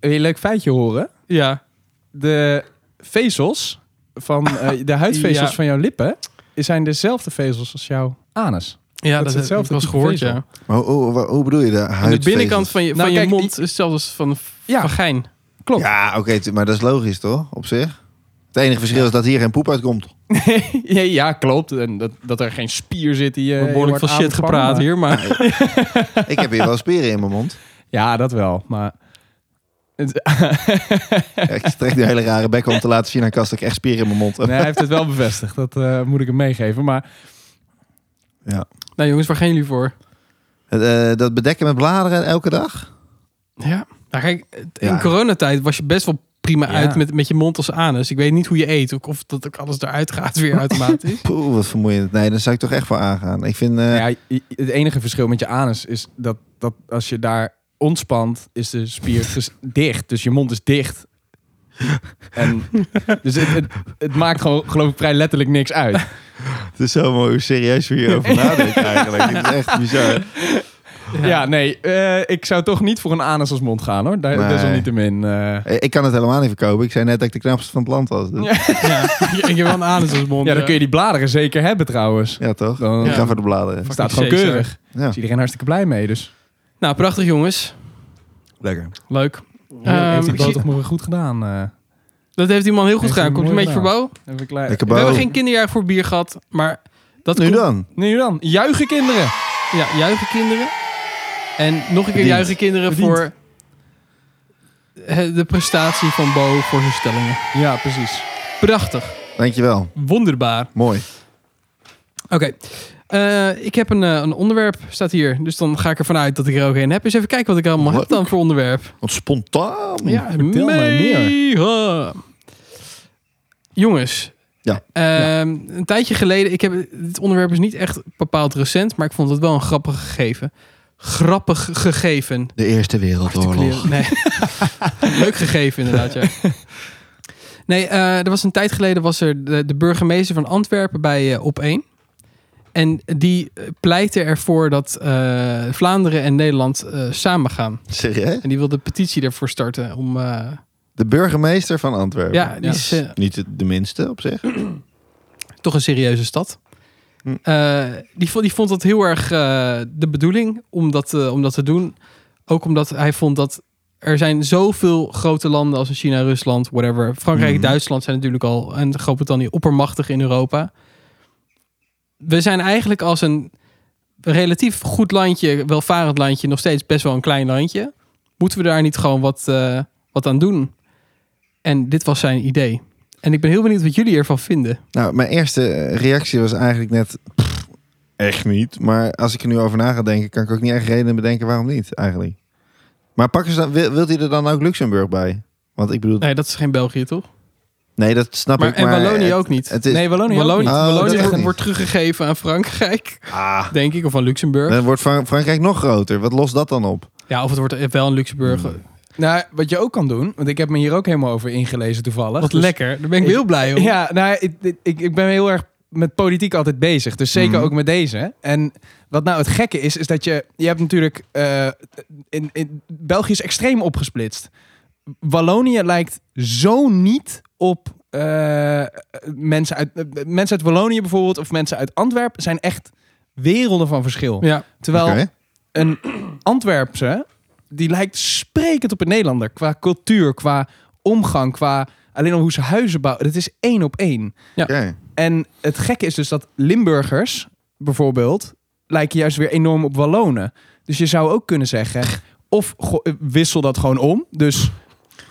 S3: Wil je een leuk feitje horen?
S4: Ja.
S3: de vezels van eh, de huidvezels
S4: Ja.
S3: van jouw lippen zijn dezelfde vezels als jouw anus.
S4: Ja, dat,
S3: is
S4: heb-
S3: hetzelfde
S4: ik was
S3: type
S4: gehoord,
S3: vezel.
S4: ja.
S1: Maar hoe, hoe, hoe bedoel je de
S4: Aan de
S1: huid?
S4: binnenkant van je, van
S3: Nou,
S4: je
S3: kijk,
S4: mond
S3: die-
S4: is hetzelfde als van een
S3: Ja. Eh,
S4: vagijn.
S3: klopt.
S1: Ja, oké, tu- maar dat is logisch toch? Op zich. Het enige verschil is dat hier geen poep uitkomt.
S3: ja, ja, klopt. En dat, dat er geen spier zit die je.
S4: We behoorlijk
S3: je
S4: veel
S3: wordt
S4: shit
S3: aangevangen,
S4: gepraat
S3: maar-
S4: hier, maar...
S1: Ik heb hier wel spieren in mijn mond.
S3: Ja, dat wel. Maar. Het-
S1: Ja, ik trek de hele rare bek om te laten zien aan Kast dat ik echt spieren in mijn mond heb.
S3: nee, hij heeft het wel bevestigd. Dat eh, moet ik hem meegeven. Maar
S4: nou jongens, waar gaan jullie voor?
S1: Eh, dat bedekken met bladeren elke dag?
S4: Ja. Nou, kijk, het- in
S1: Ja.
S4: coronatijd was je best wel prima
S3: Ja.
S4: uit met, met je mond als anus. Ik weet niet hoe je eet, of, of dat ook alles eruit gaat weer automatisch.
S1: Poeh, wat vermoeiend. Nee, daar zou ik toch echt voor aangaan. Ik vind... eh,
S3: ja, i- het enige verschil met je anus is dat, dat als je daar ontspant, is de spier ges- dicht. Dus je mond is dicht. En, dus het, het, het maakt gewoon, geloof ik, vrij letterlijk niks uit.
S1: Het is zo mooi hoe serieus we hierover nadenken eigenlijk. Het is echt bizar.
S3: Ja, nee, eh, ik zou toch niet voor een anus als mond gaan hoor. Daar,
S1: Nee.
S3: Desalniettemin. eh
S1: Eh, Ik kan het helemaal niet verkopen. Ik zei net dat ik de knapste van het land was. Dus-
S3: Ja.
S1: Ja,
S4: ja. Ik heb wel een anus als mond.
S3: ja, dan kun je die bladeren zeker hebben trouwens.
S1: toch?
S3: Dan-
S1: Ik
S4: Ja.
S1: ga voor de bladeren.
S3: Het staat gewoon
S4: Fucking
S3: keurig.
S1: Ja.
S3: Is iedereen hartstikke blij mee, dus.
S4: Nou, prachtig jongens.
S1: Lekker.
S4: Leuk.
S3: Ja,
S4: ik
S3: heeft
S4: zie-
S3: het toch weer goed gedaan. eh.
S4: Dat heeft die man heel goed
S3: Heeft
S4: gedaan.
S3: hij
S4: Komt een
S3: mooi
S4: beetje voor Bo.
S3: Even een klein...
S1: Lekker
S4: We hebben
S1: Bo.
S4: geen kinderjaar voor bier gehad, maar dat
S1: Nu
S4: komt-
S1: dan.
S3: Nu dan, juichen kinderen.
S4: Ja, juichen kinderen. En nog een keer
S1: Verdiend.
S4: juichen kinderen voor eh, de prestatie van Bo voor zijn stellingen.
S3: Ja, precies.
S4: Prachtig.
S1: Dankjewel.
S4: Wonderbaar.
S1: Mooi.
S4: Oké. Eh, ik heb een, eh, een onderwerp, staat hier. Dus dan ga ik ervan uit dat ik er ook een heb. Eens even kijken wat ik allemaal heb
S1: Leuk.
S4: dan voor onderwerp.
S1: Wat spontaan.
S4: Ja,
S3: vertel mij meer.
S4: mega. Jongens.
S1: Ja.
S4: Ehm, Een tijdje geleden, ik heb, dit onderwerp is niet echt bepaald recent, maar ik vond het wel een grappig gegeven. Grappig gegeven.
S1: De Eerste Wereldoorlog.
S4: Nee. Leuk gegeven inderdaad, ja. Nee, eh, er was een tijd geleden was er de, de burgemeester van Antwerpen bij eh, Op1. En die eh, pleitte ervoor dat eh, Vlaanderen en Nederland eh, samen gaan.
S1: Serieus?
S4: En die wilde een petitie daarvoor starten. Om, eh,
S1: De burgemeester van Antwerpen.
S4: ja, die is eh,
S1: Niet de- de minste op zich.
S4: toch een serieuze stad.
S1: Hm.
S4: Eh, die, vond, die vond dat heel erg eh, de bedoeling om dat, eh, om dat te doen. Ook omdat hij vond dat er zijn zoveel grote landen als China, Rusland, whatever. Frankrijk,
S1: Mhm.
S4: Duitsland zijn natuurlijk al en Groot-Brittannië oppermachtig in Europa. We zijn eigenlijk als een relatief goed landje, welvarend landje, nog steeds best wel een klein landje. Moeten we daar niet gewoon wat, eh, wat aan doen? En dit was zijn idee. En ik ben heel benieuwd wat jullie ervan vinden.
S1: Nou, mijn eerste eh, reactie was eigenlijk net... pff, echt niet. Maar als ik er nu over na ga denken... kan ik ook niet echt redenen bedenken waarom niet eigenlijk. Maar pakken ze dan, wil, wilt hij er dan ook Luxemburg bij? Want ik bedoel... Nee,
S4: Nee, dat is geen België, toch?
S1: dat snap
S4: Maar,
S1: ik. eh,
S4: en Wallonië
S1: het-
S4: ook niet.
S1: Het is,
S3: Nee, Wallonië ook
S4: Wallonië,
S3: niet.
S1: Oh,
S4: Wallonië
S1: dat ook niet.
S4: wordt teruggegeven aan Frankrijk,
S1: Ah,
S4: denk ik, of aan Luxemburg.
S1: dan wordt Fran- Frankrijk nog groter. Wat lost dat dan op?
S4: Ja, of het wordt wel aan Luxemburg.
S1: Hmm.
S3: Nou, wat je ook kan doen, want ik heb me hier ook helemaal over ingelezen toevallig.
S4: Wat
S3: Dus-
S4: lekker. Daar ben ik
S3: Ik-
S4: heel blij om.
S3: Ja, nou, ik, ik, ik ben heel erg met politiek altijd bezig. Dus zeker
S1: Mhm.
S3: ook met deze. En wat nou het gekke is, is dat je... Je hebt natuurlijk... eh, in, in, België is extreem opgesplitst. Wallonië lijkt zo niet op... eh, mensen, uit, eh, mensen uit Wallonië bijvoorbeeld of mensen uit Antwerpen zijn echt werelden van verschil.
S4: Ja,
S3: Terwijl
S1: Oké.
S3: een Antwerpse, die lijkt sprekend op een Nederlander. Qua cultuur, qua omgang, qua alleen al hoe ze huizen bouwen. Het is één op één.
S1: Oké.
S3: En het gekke is dus dat Limburgers, bijvoorbeeld, lijken juist weer enorm op Wallonen. Dus je zou ook kunnen zeggen, of go- eh, wissel dat gewoon om. Dus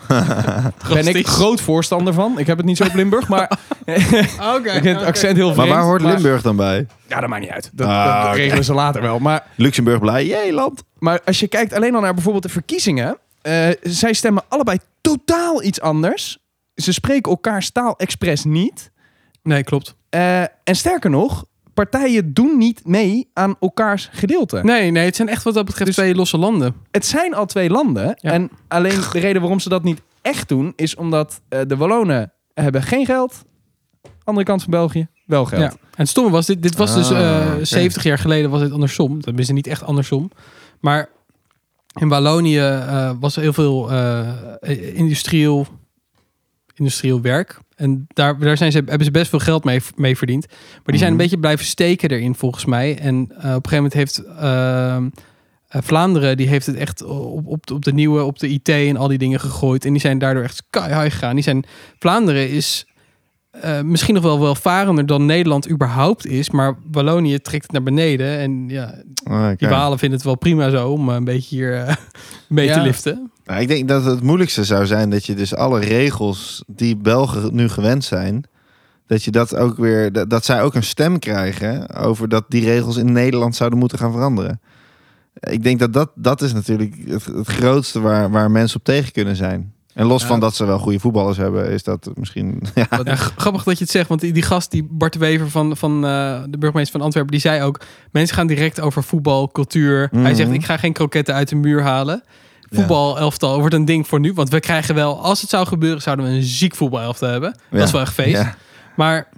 S3: ben ik
S4: Drastisch.
S3: groot voorstander van. Ik heb het niet zo op Limburg, maar
S4: Oh, Oké.
S3: ik vind het accent heel
S1: Maar
S3: vreemd.
S1: waar hoort Limburg dan bij?
S3: Ja, dat maakt niet uit. Dat,
S1: Ah,
S3: dat
S1: oké.
S3: regelen ze later wel. Maar
S1: Luxemburg blij, jee land.
S3: Maar als je kijkt alleen al naar bijvoorbeeld de verkiezingen. eh, zij stemmen allebei totaal iets anders. Ze spreken elkaars taal expres niet.
S4: Nee, klopt.
S3: Eh, en sterker nog, partijen doen niet mee aan elkaars gedeelte.
S4: Nee, nee, het zijn echt wat dat betreft
S3: Dus-
S4: twee losse landen.
S3: Het zijn al twee landen.
S4: Ja.
S3: En alleen de reden waarom ze dat niet echt doen... is omdat eh, de Wallonen hebben geen geld. Andere kant van België wel geld.
S4: Ja. En het stomme was, dit, dit was dus
S1: Ah,
S4: eh,
S1: oké.
S4: 70 jaar geleden was dit andersom. Dat is niet echt andersom. Maar in Wallonië eh, was er heel veel eh, industrieel, industrieel werk. En En daar, daar zijn ze, hebben ze best veel geld mee, mee verdiend. Maar die zijn een
S1: Mhm.
S4: beetje blijven steken erin, volgens mij. En eh, op een gegeven moment heeft eh, eh, Vlaanderen... die heeft het echt op, op, de- op de nieuwe, op de IT en al die dingen gegooid. En die zijn daardoor echt sky high gegaan. Die zijn, Vlaanderen is eh, misschien nog wel welvarender dan Nederland überhaupt is. Maar Wallonië trekt het naar beneden. En ja,
S1: Oké.
S4: die Walen vinden het wel prima zo om eh, een beetje hier eh, mee te
S3: Ja.
S4: liften.
S1: Nou, ik denk dat het moeilijkste zou zijn dat je dus alle regels die Belgen nu gewend zijn, dat je dat ook weer, dat, dat zij ook een stem krijgen over dat die regels in Nederland zouden moeten gaan veranderen. Ik denk dat dat, dat is natuurlijk het, het grootste waar, waar mensen op tegen kunnen zijn. En los
S4: Ja.
S1: van dat ze wel goede voetballers hebben, is dat misschien. Ja,
S4: Wat, ja, g- grappig dat je het zegt, want die, die gast, die Bart de Wever van, van eh, de burgemeester van Antwerpen, die zei ook: mensen gaan direct over voetbal, cultuur. Hij
S1: Mhm.
S4: zegt: ik ga geen kroketten uit de muur halen. Voetbal elftal wordt een ding voor nu, want we krijgen wel, als het zou gebeuren, zouden we een ziek voetbalelftal hebben. Dat
S1: Ja.
S4: is wel echt feest.
S1: Ja.
S4: Maar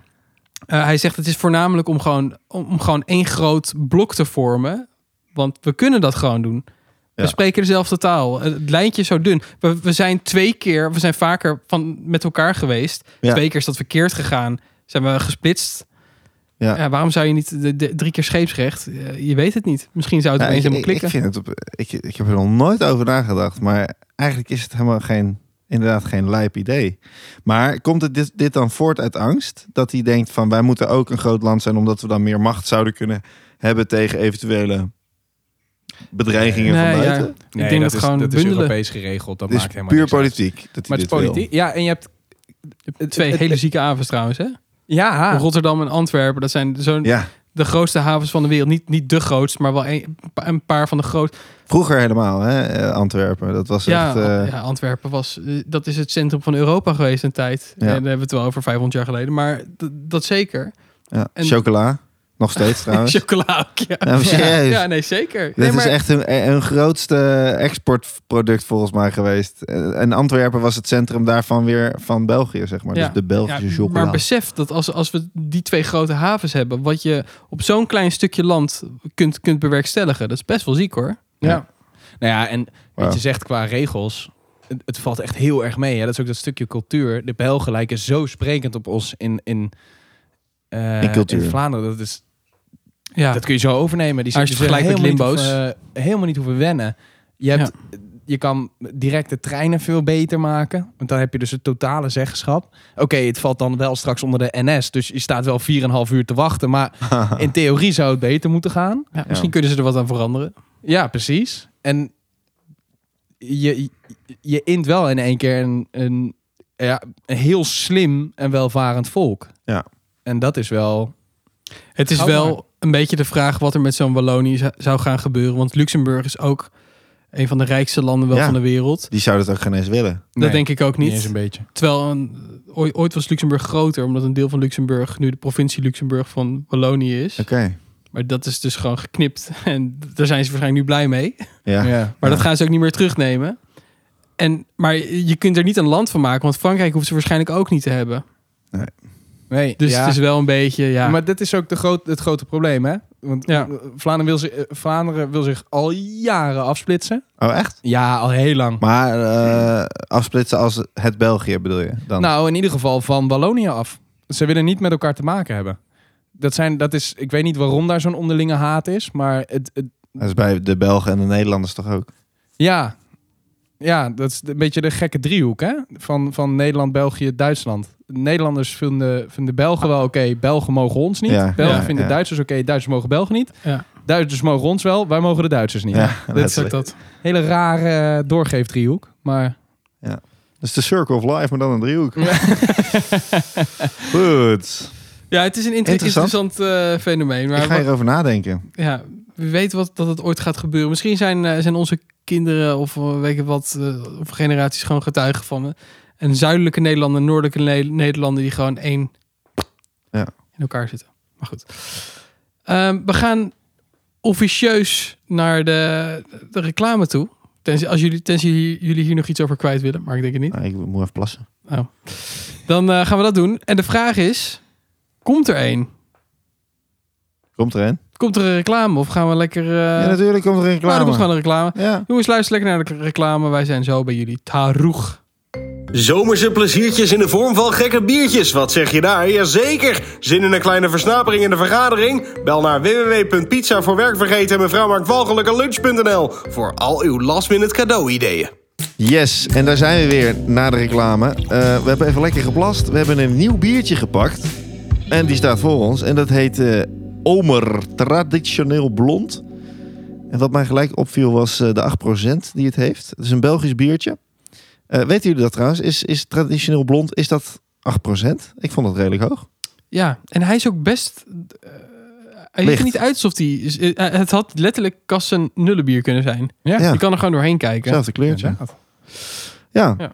S4: eh, hij zegt: het is voornamelijk om gewoon, om, om gewoon één groot blok te vormen, want we kunnen dat gewoon doen. We
S1: Ja.
S4: spreken dezelfde taal. Eh, Het lijntje is zo dun. We, we zijn twee keer, we zijn vaker van, met elkaar geweest.
S1: Ja.
S4: Twee keer is dat verkeerd gegaan. Zijn we gesplitst? Ja.
S1: Ja.
S4: waarom zou je niet de, de- drie keer scheepsrecht? Eh, je weet het niet. Misschien zou het
S1: Ja, ik,
S4: opeens
S1: ik,
S4: helemaal klikken.
S1: ik vind het op, ik, ik heb er nog nooit over nagedacht, maar eigenlijk is het helemaal geen, inderdaad geen lijp idee. Maar komt het dit, dit dan voort uit angst? Dat hij denkt van wij moeten ook een groot land zijn, omdat we dan meer macht zouden kunnen hebben tegen eventuele bedreigingen
S4: Nee,
S1: van
S4: ja.
S1: buiten.
S4: Ik denk dat,
S3: is,
S4: gewoon
S3: dat is
S4: bundelen.
S3: Europees geregeld. Dat
S1: Het is
S3: maakt helemaal
S1: puur
S3: niks uit.
S1: politiek. Dat hij
S3: Maar het
S1: dit
S3: is
S1: wil.
S3: politiek. Ja, en je hebt...
S4: Twee
S3: het-
S4: hele
S3: het-
S4: zieke havens trouwens. Hè?
S3: Ja,
S4: Rotterdam en Antwerpen. Dat zijn zo'n
S1: Ah. Ja,
S4: de grootste havens van de wereld. Niet, niet de grootste, maar wel een, een paar van de grootste.
S1: vroeger helemaal, hè, eh, Antwerpen. Dat was
S4: Ja,
S1: echt... eh,
S4: ja, Antwerpen was, eh, dat is het centrum van Europa geweest een
S1: Ja.
S4: tijd. En
S1: Nou,
S4: daar hebben we het wel over 500 jaar geleden. Maar d- dat zeker.
S1: ja.
S4: en-
S1: Chocola, nog steeds trouwens.
S4: Chocola ook, ja.
S1: Ja, maar nou, serieus.
S4: Ja, nee, zeker.
S1: Dit
S4: Nee, maar-
S1: is echt hun, hun grootste exportproduct volgens mij geweest. Eh, En Antwerpen was het centrum daarvan weer van België, zeg maar.
S4: Ja.
S1: Dus de Belgische
S4: Ja,
S1: chocola.
S4: Maar besef dat als, als we die twee grote havens hebben, wat je op zo'n klein stukje land kunt, kunt bewerkstelligen, dat is best wel ziek hoor.
S3: Ja. Nou ja, en
S1: Wauw.
S3: wat je zegt qua regels, het, het valt echt heel erg mee. Hè? Dat is ook dat stukje cultuur. De Belgen lijken zo sprekend op ons in, in, eh,
S1: In cultuur.
S3: Vlaanderen. Dat, is,
S4: Ja,
S3: dat kun je zo overnemen. Die
S4: Maar als je
S3: zullen
S4: het vergelijkt met
S3: helemaal niet hoeven- eh, helemaal niet hoeven wennen. Je, hebt, je kan direct de treinen veel beter maken. Want dan heb je dus het totale zeggenschap. Oké, het valt dan wel straks onder de NS. Dus je staat wel 4,5 uur te wachten. Maar in theorie zou het beter moeten gaan.
S4: Ja, misschien kunnen ze er wat aan veranderen.
S3: Ja, precies. En je, je, je int wel in één keer een, een, ja, een heel slim en welvarend volk.
S1: Ja.
S3: En dat is wel...
S4: Het is
S3: Hou maar.
S4: wel een beetje de vraag wat er met zo'n Wallonië zou- zou gaan gebeuren. Want Luxemburg is ook een van de rijkste landen wel
S1: Ja.
S4: van de wereld.
S1: Die zouden het ook geen eens willen.
S4: Dat denk ik ook
S3: niet eens
S4: niet.
S3: een beetje.
S4: Terwijl een, ooi- ooit was Luxemburg groter, omdat een deel van Luxemburg nu de provincie Luxemburg van Wallonië is.
S1: Oké.
S4: Maar dat is dus gewoon geknipt. En daar zijn ze waarschijnlijk nu blij mee.
S1: Ja.
S3: Ja.
S1: Ja.
S4: Maar
S1: Ja.
S4: dat gaan ze ook niet meer terugnemen. En, maar je kunt er niet een land van maken, want Frankrijk hoeft ze waarschijnlijk ook niet te hebben.
S3: Nee,
S4: Dus
S3: ja.
S4: het is wel een beetje, ja.
S3: Maar dat is ook de groot, het grote probleem, hè? Want
S4: Ja.
S3: Vlaanderen, wil zich, eh, Vlaanderen wil zich al jaren afsplitsen.
S1: Oh, echt?
S3: Ja, al heel lang.
S1: Maar eh, afsplitsen als het België bedoel je dan?
S3: Nou, in ieder geval van Wallonië af. Ze willen niet met elkaar te maken hebben. Dat zijn, dat is, ik weet niet waarom daar zo'n onderlinge haat is, maar het, het,
S1: Dat is bij de Belgen en de Nederlanders toch ook?
S3: Ja. Ja, dat is een beetje de gekke driehoek, hè? Van, van Nederland, België, Duitsland. Nederlanders vinden, vinden Belgen wel oké, Belgen mogen ons niet.
S1: Ja,
S3: Belgen
S1: ja,
S3: vinden
S1: ja.
S3: Duitsers oké, Duitsers mogen Belgen niet.
S4: Ja.
S3: Duitsers mogen ons wel, wij mogen de Duitsers niet.
S1: dat is
S4: Zeg dat.
S3: Hele rare eh, doorgeefdriehoek, maar...
S1: dat is de circle of life, maar dan een driehoek. Goed.
S4: Ja, het is een inter-
S1: Interessant.
S4: interessant eh, fenomeen. Maar
S1: Ik ga
S4: wat-
S1: hierover nadenken.
S4: ja, wie weet wat, dat het ooit gaat gebeuren. Misschien zijn, eh, zijn onze kinderen of eh, weet ik wat, eh, of generaties gewoon getuigen van eh, een zuidelijke Nederlander, en noordelijke Ne- Nederlander die gewoon één
S1: Ja.
S4: in elkaar zitten. Maar goed. Ehm, we gaan officieus naar de, de reclame toe. Tenzij, als jullie, tenzij jullie hier nog iets over kwijt willen, maar ik denk het niet.
S1: Nou, ik moet even plassen.
S4: Dan eh, gaan we dat doen. En de vraag is, komt er één?
S1: Komt er een?
S4: Komt er een reclame of gaan we lekker... eh
S1: ja, natuurlijk komt er een
S4: nou, dan
S1: reclame.
S4: komt gewoon een reclame.
S1: Ja.
S4: Jongens, luister lekker naar de reclame. Wij zijn zo bij jullie. Taroeg.
S5: Zomerse pleziertjes in de vorm van gekke biertjes. Wat zeg je daar? Jazeker! Zin in een kleine versnapering in de vergadering? Bel naar www.pizza voor werkvergeten en mevrouw Mark Walgelijke lunch.nl voor al uw last minute cadeau ideeën.
S1: Yes, en daar zijn we weer na de reclame. Eh, we hebben even lekker geplast. We hebben een nieuw biertje gepakt. En die staat voor ons. En dat heet eh, Omer Traditioneel Blond. En wat mij gelijk opviel was eh, de 8% die het heeft. Het is een Belgisch biertje. Eh, weten jullie dat trouwens? Is, is traditioneel blond, is dat 8%? Ik vond dat redelijk hoog.
S4: Ja, en hij is ook best. eh, hij ziet
S1: Licht.
S4: er niet uit alsof hij. is- eh, het had letterlijk kassen nullenbier kunnen zijn.
S3: Ja.
S1: Ja.
S4: Je kan er gewoon doorheen kijken.
S1: Hetzelfde kleurtje. Ja.
S3: Inderdaad.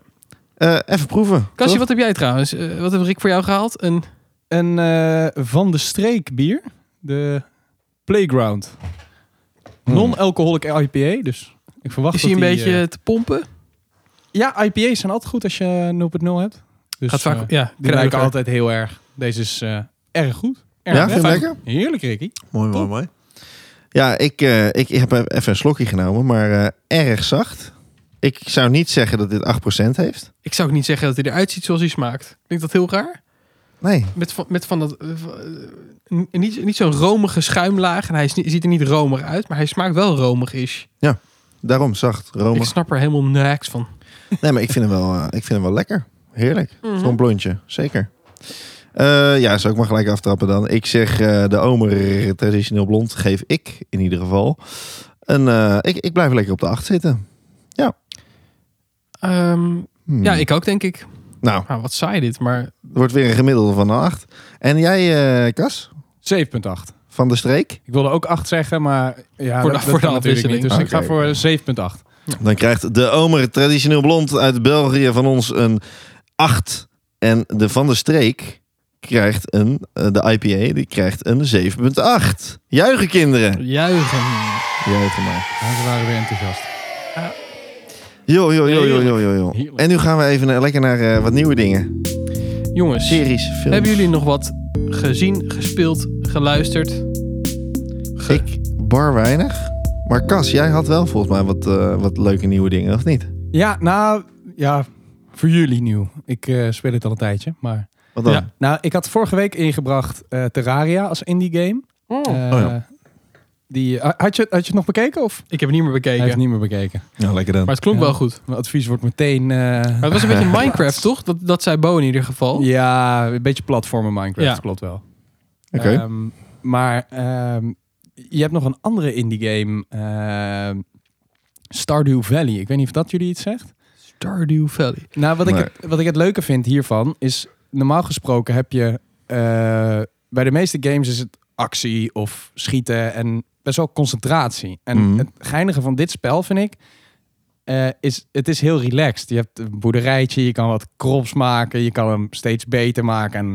S4: Ja.
S1: Eh, even proeven.
S4: Kassie,
S1: toch?
S4: wat heb jij trouwens? Eh, wat heb Rick voor jou gehaald? Een,
S3: Een eh, Van de Streek bier. De Playground.
S1: Hmm.
S3: Non-alcoholic IPA. Dus ik verwacht
S4: is hij een
S3: dat die,
S4: beetje
S3: eh,
S4: te pompen?
S3: ja, IPA's zijn altijd goed als je 0.0 hebt. Dus,
S4: Gaat vaak.
S3: eh,
S4: ja,
S3: die ruiken
S4: kruidiger.
S3: altijd heel erg. Deze is eh, erg goed. Erg
S1: Ja, vind je
S3: fijn.
S1: hem
S3: Heerlijk, Ricky.
S1: Mooi, mooi, mooi. Ja, ik, eh, ik heb even een slokje genomen, maar eh, erg zacht. Ik zou niet zeggen dat dit 8% heeft.
S4: Ik zou ook niet zeggen dat hij eruit ziet zoals hij smaakt. Klinkt dat heel raar?
S1: Nee.
S4: Met van, met van dat. eh, van, eh, n- niet niet zo'n romige schuimlaag. En hij is niet- ziet er niet romig uit, maar hij smaakt wel romig is.
S1: Daarom zacht,
S4: Ik
S1: romig.
S4: snap er helemaal niks van.
S1: Nee, maar ik vind hem wel, eh, ik vind hem wel lekker. Heerlijk.
S4: Mhm.
S1: Zo'n blondje, zeker. Eh, ja, zou ik maar gelijk aftrappen dan. Ik zeg eh, de Omer traditioneel blond geef ik in ieder geval. En eh, ik, ik blijf lekker op de 8 zitten.
S4: Ehm,
S1: Hmm.
S4: Ja, ik ook denk ik.
S1: Nou,
S4: Nou, wat saai dit, maar
S1: het wordt weer een gemiddelde van een 8. En jij, eh Kas,
S3: 7.8.
S1: van de streek?
S3: Ik wilde ook 8 zeggen, maar ja,
S4: Voor de-
S3: dat,
S4: voor de
S3: kan natuurlijk
S4: afwisseling.
S3: niet. Dus
S1: Oké.
S3: ik ga voor 7.8.
S1: Dan krijgt de Omer traditioneel blond uit België van ons een 8. En de van de streek krijgt een, eh, de IPA, die krijgt een 7.8. Juichen kinderen!
S4: juichen.
S1: Juichen maar.
S3: Ja, ze waren weer enthousiast.
S1: Jo, jo, jo, jo, jo, jo, jo.
S3: Heerlijk.
S1: En nu gaan we even naar- lekker naar eh, wat nieuwe dingen.
S4: Jongens,
S1: Series, films.
S4: hebben jullie nog wat gezien, gespeeld, geluisterd? Ge-
S1: Ik bar weinig. Maar Cas, jij had wel volgens mij wat, eh, wat leuke nieuwe dingen, of niet?
S3: Ja, nou, ja, voor jullie nieuw. Ik eh, speel het al een tijdje, maar...
S1: Wat dan?
S4: Ja.
S3: Nou, ik had vorige week ingebracht eh, Terraria als indie game. Eh,
S1: Oh ja.
S3: die, eh, had, je, had je het nog bekeken of?
S4: Ik heb het niet meer
S3: Hij
S4: bekeken, Oh,
S3: heeft het niet meer bekeken.
S1: Nou, lekker
S4: maar
S1: dan.
S4: het klonk
S3: Ja.
S4: wel goed.
S3: Mijn advies wordt meteen... eh,
S4: Maar het was een beetje Minecraft, toch? Dat, dat zei Bo in ieder geval.
S3: ja, een beetje platformen Minecraft,
S4: Ja.
S3: klopt wel.
S1: Oké.
S4: Eh,
S3: Ehm, maar ehm, je hebt nog een andere indie game. ehm, Stardew Valley. Ik weet niet of dat jullie iets zegt.
S4: Stardew Valley.
S3: Nou, wat,
S1: Nee.
S3: ik het, wat ik het leuke vind hiervan is... Normaal gesproken heb je... eh, bij de meeste games is het actie of schieten en best wel concentratie. En
S1: Mhm.
S3: het geinige van dit spel vind ik... eh, is, het is heel relaxed. Je hebt een boerderijtje, je kan wat crops maken, je kan hem steeds beter maken. En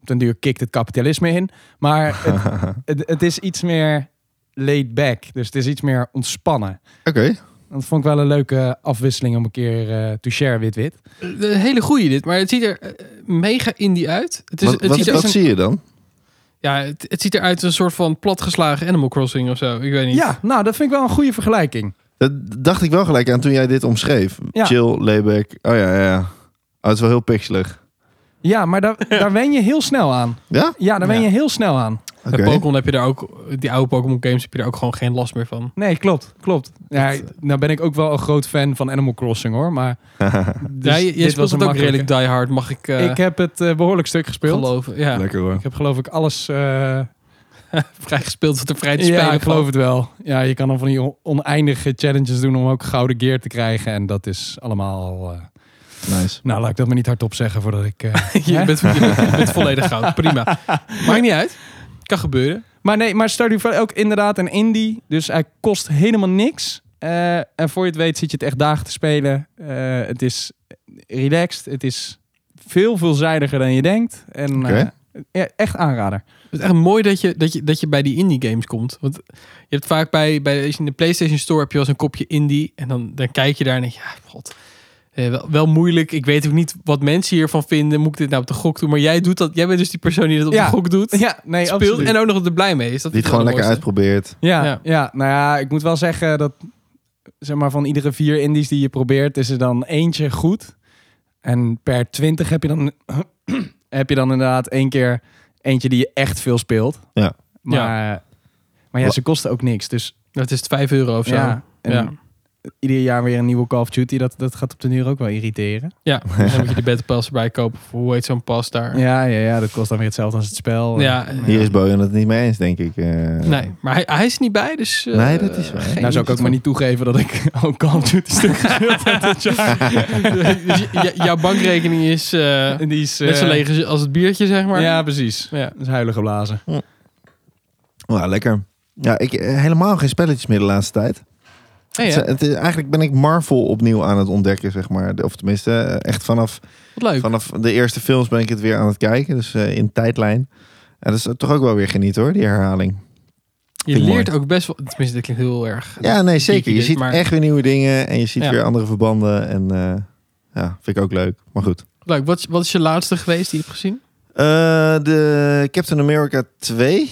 S3: op den duur kikt het kapitalisme in. Maar het, het, het is iets meer laid back. Dus het is iets meer ontspannen.
S1: Oké.
S3: Dat vond ik wel een leuke afwisseling om een keer eh, te share wit-wit.
S4: Eh, Een hele goeie dit, maar het ziet er eh, mega indie uit. Het, is,
S1: Wat,
S4: het,
S1: wat,
S4: ziet, er
S1: wat
S4: als een-
S1: zie je dan?
S4: ja, het, het ziet eruit als een soort van platgeslagen Animal Crossing of zo. Ik weet niet.
S3: Ja, nou, dat vind ik wel een goede vergelijking.
S1: Dat dacht ik wel gelijk aan toen jij dit omschreef.
S3: Ja.
S1: Chill, layback. Oh ja, ja, ja. Oh, het is wel heel pixelig.
S3: Ja, maar daar, daar wen je heel snel aan.
S1: Ja?
S3: Ja, daar wen
S4: Ja.
S3: je heel snel aan.
S1: Oké.
S4: Bij Pokémon heb je daar ook, die oude Pokémon games heb je daar ook gewoon geen last meer van.
S3: Nee, klopt, klopt. Ja, nou ben ik ook wel een groot fan van Animal Crossing, hoor. Maar dus
S4: ja, je, je
S3: dit
S4: speelt
S3: was een
S4: het ook
S3: makkelijke.
S4: redelijk die hard, mag ik, eh,
S3: Ik heb het eh, behoorlijk stuk gespeeld.
S4: geloven. Ja.
S1: Lekker hoor.
S3: Ik heb geloof ik alles... eh,
S4: vrij gespeeld wat er vrij te spelen
S3: ja, ik
S4: valt.
S3: geloof het wel. Ja, je kan dan van die on- oneindige challenges doen om ook gouden gear te krijgen. En dat is allemaal... eh,
S1: Nice.
S3: nou, laat ik dat maar niet hardop zeggen voordat ik... eh,
S4: Je bent, je bent volledig goud. Prima. Maakt niet uit. Kan gebeuren.
S3: Maar nee, maar Stardew Valley ook inderdaad een indie. Dus hij kost helemaal niks. Eh, en voor je het weet zit je het echt dagen te spelen. Eh, het is relaxed. Het is veel veelzijdiger dan je denkt. En
S1: Oké.
S3: eh, ja, echt aanrader.
S4: Het is echt mooi dat je, dat je, dat je bij die indie games komt. Want je hebt vaak bij, bij als je in de PlayStation Store heb je wel eens een kopje indie. En dan, dan kijk je daar en denk je, ja, god. eh, wel, wel moeilijk. Ik weet ook niet wat mensen hiervan vinden. Moet ik dit nou op de gok doen? Maar jij doet dat. Jij bent dus die persoon die dat op
S3: Ja.
S4: de gok doet.
S3: Ja, nee,
S4: speelt
S3: absoluut.
S4: en ook nog er blij mee is. Dat
S1: Die
S4: is
S1: het gewoon
S4: wel
S1: lekker
S4: het mooiste.
S1: uitprobeert.
S3: ja,
S4: Ja.
S3: ja. nou ja, ik moet wel zeggen dat zeg maar, van iedere vier indies die je probeert, is er dan eentje goed. En per 20 heb je dan, heb je dan inderdaad één keer eentje die je echt veel speelt.
S1: Ja.
S3: Maar ja, maar ja ze kosten ook niks. Dus
S4: Dat Nou, is 5 euro of zo.
S3: ja, en
S4: ja.
S3: ieder jaar weer een nieuwe Call of Duty. Dat, dat gaat op de duur ook wel irriteren.
S4: Ja, dan moet je de Battle Pass erbij kopen. Of hoe heet zo'n pas daar?
S3: Ja, ja, ja, dat kost dan weer hetzelfde als het spel.
S4: Ja,
S1: Hier is Bojan het niet mee eens, denk ik. eh.
S4: nee. Maar hij, hij is er niet bij, dus... eh,
S1: Nee, dat is waar.
S4: geen
S3: Nou zou ik ook maar niet toegeven dat ik ook Call of Duty stuk gespeeld heb dit jaar.
S4: Dus j- j- jouw bankrekening is eh
S3: En die is...
S4: net zo
S3: eh,
S4: leeg als- als het biertje, zeg maar.
S3: Ja, precies.
S4: Ja.
S3: Dat is huilen geblazen.
S1: Nou, lekker. Ja, ik eh, helemaal geen spelletjes meer de laatste tijd.
S4: Hey,
S1: Het is- eh, het is- eigenlijk ben ik Marvel opnieuw aan het ontdekken, zeg maar. De- Of tenminste, eh, echt vanaf,
S4: wat leuk.
S1: vanaf de eerste films ben ik het weer aan het kijken. Dus eh, in tijdlijn. En dat is toch ook wel weer geniet hoor, die herhaling.
S4: Je
S1: vind ik
S4: leert ook best wel... Tenminste, dat klinkt heel erg.
S1: Ja, nee, zeker. Je
S4: dit,
S1: ziet
S4: maar-
S1: echt weer nieuwe dingen en je ziet
S4: Ja.
S1: weer andere verbanden. En eh, ja, vind ik ook leuk. Maar goed.
S4: Leuk. Wat, is- wat is je laatste geweest die je hebt gezien?
S1: Eh, de Captain America 2.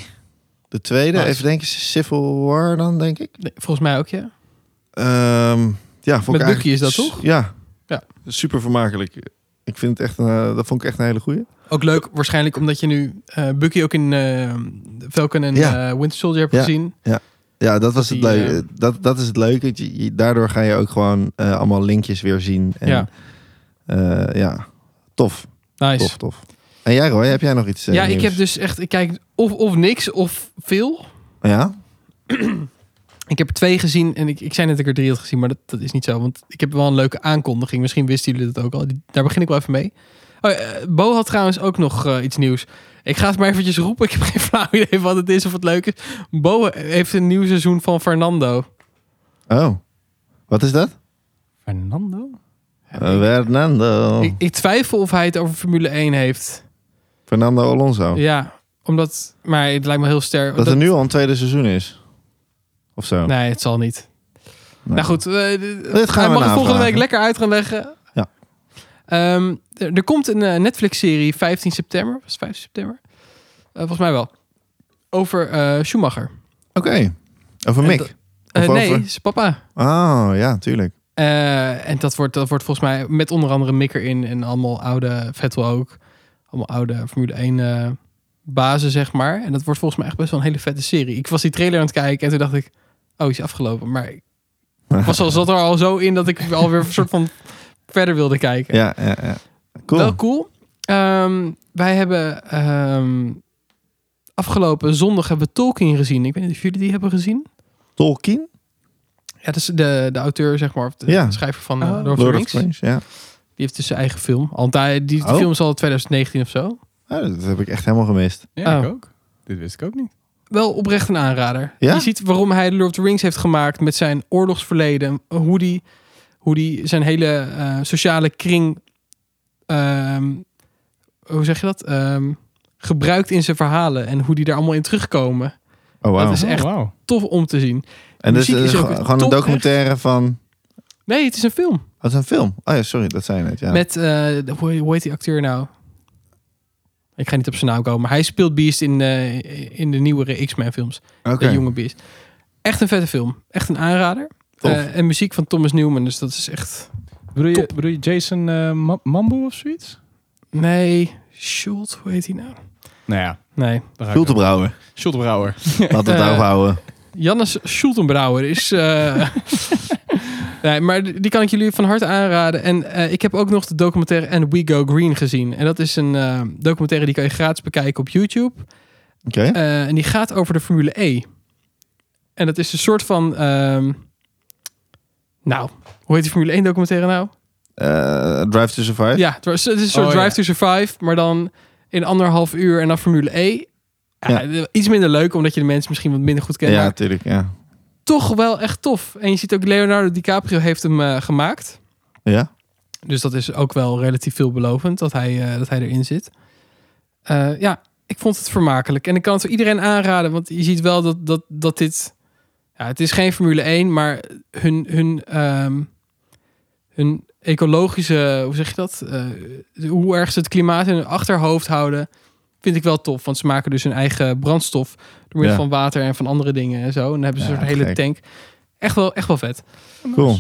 S1: De tweede,
S4: Nice.
S1: even denken, Civil War dan, denk ik.
S4: Nee, volgens mij ook, ja.
S1: Ehm, ja, vond
S4: Met
S1: ik
S4: Bucky is dat
S1: s-
S4: toch?
S1: Ja.
S4: Ja.
S1: Super vermakelijk. Ik vind het echt, een- eh, dat vond ik echt een hele goeie.
S4: Ook leuk, waarschijnlijk omdat je nu eh, Bucky ook in eh, Falcon en
S1: Ja.
S4: eh, Winter Soldier hebt
S1: Ja.
S4: gezien.
S1: Ja, dat was het
S4: Die, eh,
S1: leuke. dat, dat is het leuke. Je- je- Daardoor ga je ook gewoon eh, allemaal linkjes weer zien. En,
S4: Ja.
S1: eh, ja. Tof,
S4: Nice.
S1: tof, tof. En jij Roy, heb jij nog iets eh,
S4: ja, ik
S1: nieuws?
S4: heb dus echt... Ik kijk of, of niks of veel.
S1: Ja?
S4: Ik heb er twee gezien en ik, ik zei net dat ik er drie had gezien, maar dat, dat is niet zo. Want ik heb wel een leuke aankondiging. Misschien wisten jullie dat ook al. Die- daar begin ik wel even mee. Oh, ja, eh, Bo had trouwens ook nog eh, iets nieuws. Ik ga het maar eventjes roepen. Ik heb geen flauw idee wat het is of het leuk is. Bo eh, heeft een nieuw seizoen van Fernando.
S1: Oh. Wat is dat?
S3: Fernando?
S1: Fernando.
S4: Ik, ik twijfel of hij het over Formule 1 heeft.
S1: Fernando Alonso.
S4: Ja, omdat... Maar het lijkt me heel sterk.
S1: Oh. Dat er nu al een tweede seizoen is. Of zo.
S4: Nee, het zal niet.
S1: Oh. Nee.
S4: Nou goed, eh, d-
S1: we
S4: hij mag het volgende
S1: navragen.
S4: week lekker uit gaan leggen.
S1: Ja.
S4: Ehm, er, er komt een eh, Netflix-serie 15 september. Was het 5 september? Eh, volgens mij wel. Over eh, Schumacher.
S1: Oké. Over
S4: En
S1: Mick.
S4: dat-
S1: Of
S4: Eh, nee,
S1: over-
S4: zijn papa.
S1: Oh, ja, tuurlijk.
S4: Eh, en dat wordt, dat wordt volgens mij met onder andere Mikker in en allemaal oude Vettel ook. Allemaal oude Formule 1 eh, bazen, zeg maar. En dat wordt volgens mij echt best wel een hele vette serie. Ik was die trailer aan het kijken en toen dacht ik, oh, die is afgelopen. Maar ik was al, zat er al zo in dat ik alweer een soort van verder wilde kijken.
S1: Ja, ja, ja. Cool.
S4: Wel cool. Ehm, wij hebben ehm, afgelopen zondag hebben we Tolkien gezien. Ik weet niet of jullie die hebben gezien.
S1: Tolkien?
S4: Ja, dat is de, de auteur, zeg maar, of de
S1: Ja.
S4: schrijver van eh, Lord,
S1: Lord
S4: of the
S1: of
S4: Rings.
S1: the Rings, ja.
S4: Die heeft dus zijn eigen film. Al, die die
S1: Oh.
S4: film is al 2019 of zo.
S1: Oh, dat heb ik echt helemaal gemist.
S3: Ja, ik
S4: Oh.
S3: ook. Dit wist ik ook niet.
S4: Wel oprecht een aanrader.
S1: Ja?
S4: Je ziet waarom hij Lord of the Rings heeft gemaakt met zijn oorlogsverleden. Hoe die, hoe die zijn hele eh, sociale kring, ehm, hoe zeg je dat? Ehm, gebruikt in zijn verhalen. En hoe die daar allemaal in terugkomen.
S1: Oh, wauw.
S4: Dat is echt
S3: wauw.
S4: tof om te zien.
S1: En dus
S4: muziek
S1: eh,
S4: is ook
S1: gewoon-
S4: weer
S1: gewoon een
S4: top,
S1: documentaire van...
S4: Nee, het is een film.
S1: Oh, dat is een film. Oh ja, sorry, dat zei je net, ja.
S4: Met, eh, hoe, hoe heet die acteur nou? Ik ga niet op zijn naam komen. Maar hij speelt Beast in, eh, in de nieuwere X-Men films.
S1: Oké,
S4: De Jonge Beast. Echt een vette film. Echt een aanrader.
S1: tof.
S4: Eh, en muziek van Thomas Newman. Dus dat is echt...
S3: Bedoel je,
S4: Top.
S3: bedoel je Jason eh, Ma- Mambo of zoiets?
S4: Nee, Schult, hoe heet hij nou?
S3: Nou ja,
S4: Nee.
S3: daar
S1: Veel te brouwen.
S3: Schultebrouwer.
S1: Laten we het
S4: Eh,
S1: daarop houden.
S4: Jannes Schultenbrouwer is... eh, nee, maar die die kan ik jullie van harte aanraden. En eh, ik heb ook nog de documentaire And We Go Green gezien. En dat is een eh, documentaire die kan je gratis bekijken op YouTube.
S1: Oké.
S4: Eh, en die gaat over de Formule E. En dat is een soort van... ehm, nou, hoe heet die Formule 1 documentaire nou?
S1: Eh, Drive to Survive.
S4: Ja, het, was, het is een soort
S3: Oh, ja.
S4: Drive to Survive, maar dan in anderhalf uur en dan Formule E. Ja, Iets minder leuk, omdat je de mensen misschien wat minder goed kent.
S1: ja,
S4: Maar
S1: tuurlijk, ja.
S4: toch wel echt tof. En je ziet ook Leonardo DiCaprio heeft hem eh, gemaakt.
S1: Ja?
S4: Dus dat is ook wel relatief veelbelovend dat hij, eh, dat hij erin zit. Eh, ja, ik vond het vermakelijk. En ik kan het voor iedereen aanraden, want je ziet wel dat, dat, dat dit... Ja, het is geen Formule 1, maar hun, hun, ehm, hun ecologische... Hoe zeg je dat? Eh, hoe erg ze het klimaat in hun achterhoofd houden, vind ik wel tof. Want ze maken dus hun eigen brandstof door middel
S1: Ja.
S4: van water en van andere dingen en zo. En dan hebben ze
S1: Ja,
S4: een soort hele
S1: gek.
S4: tank. Echt wel, echt wel vet.
S1: Cool.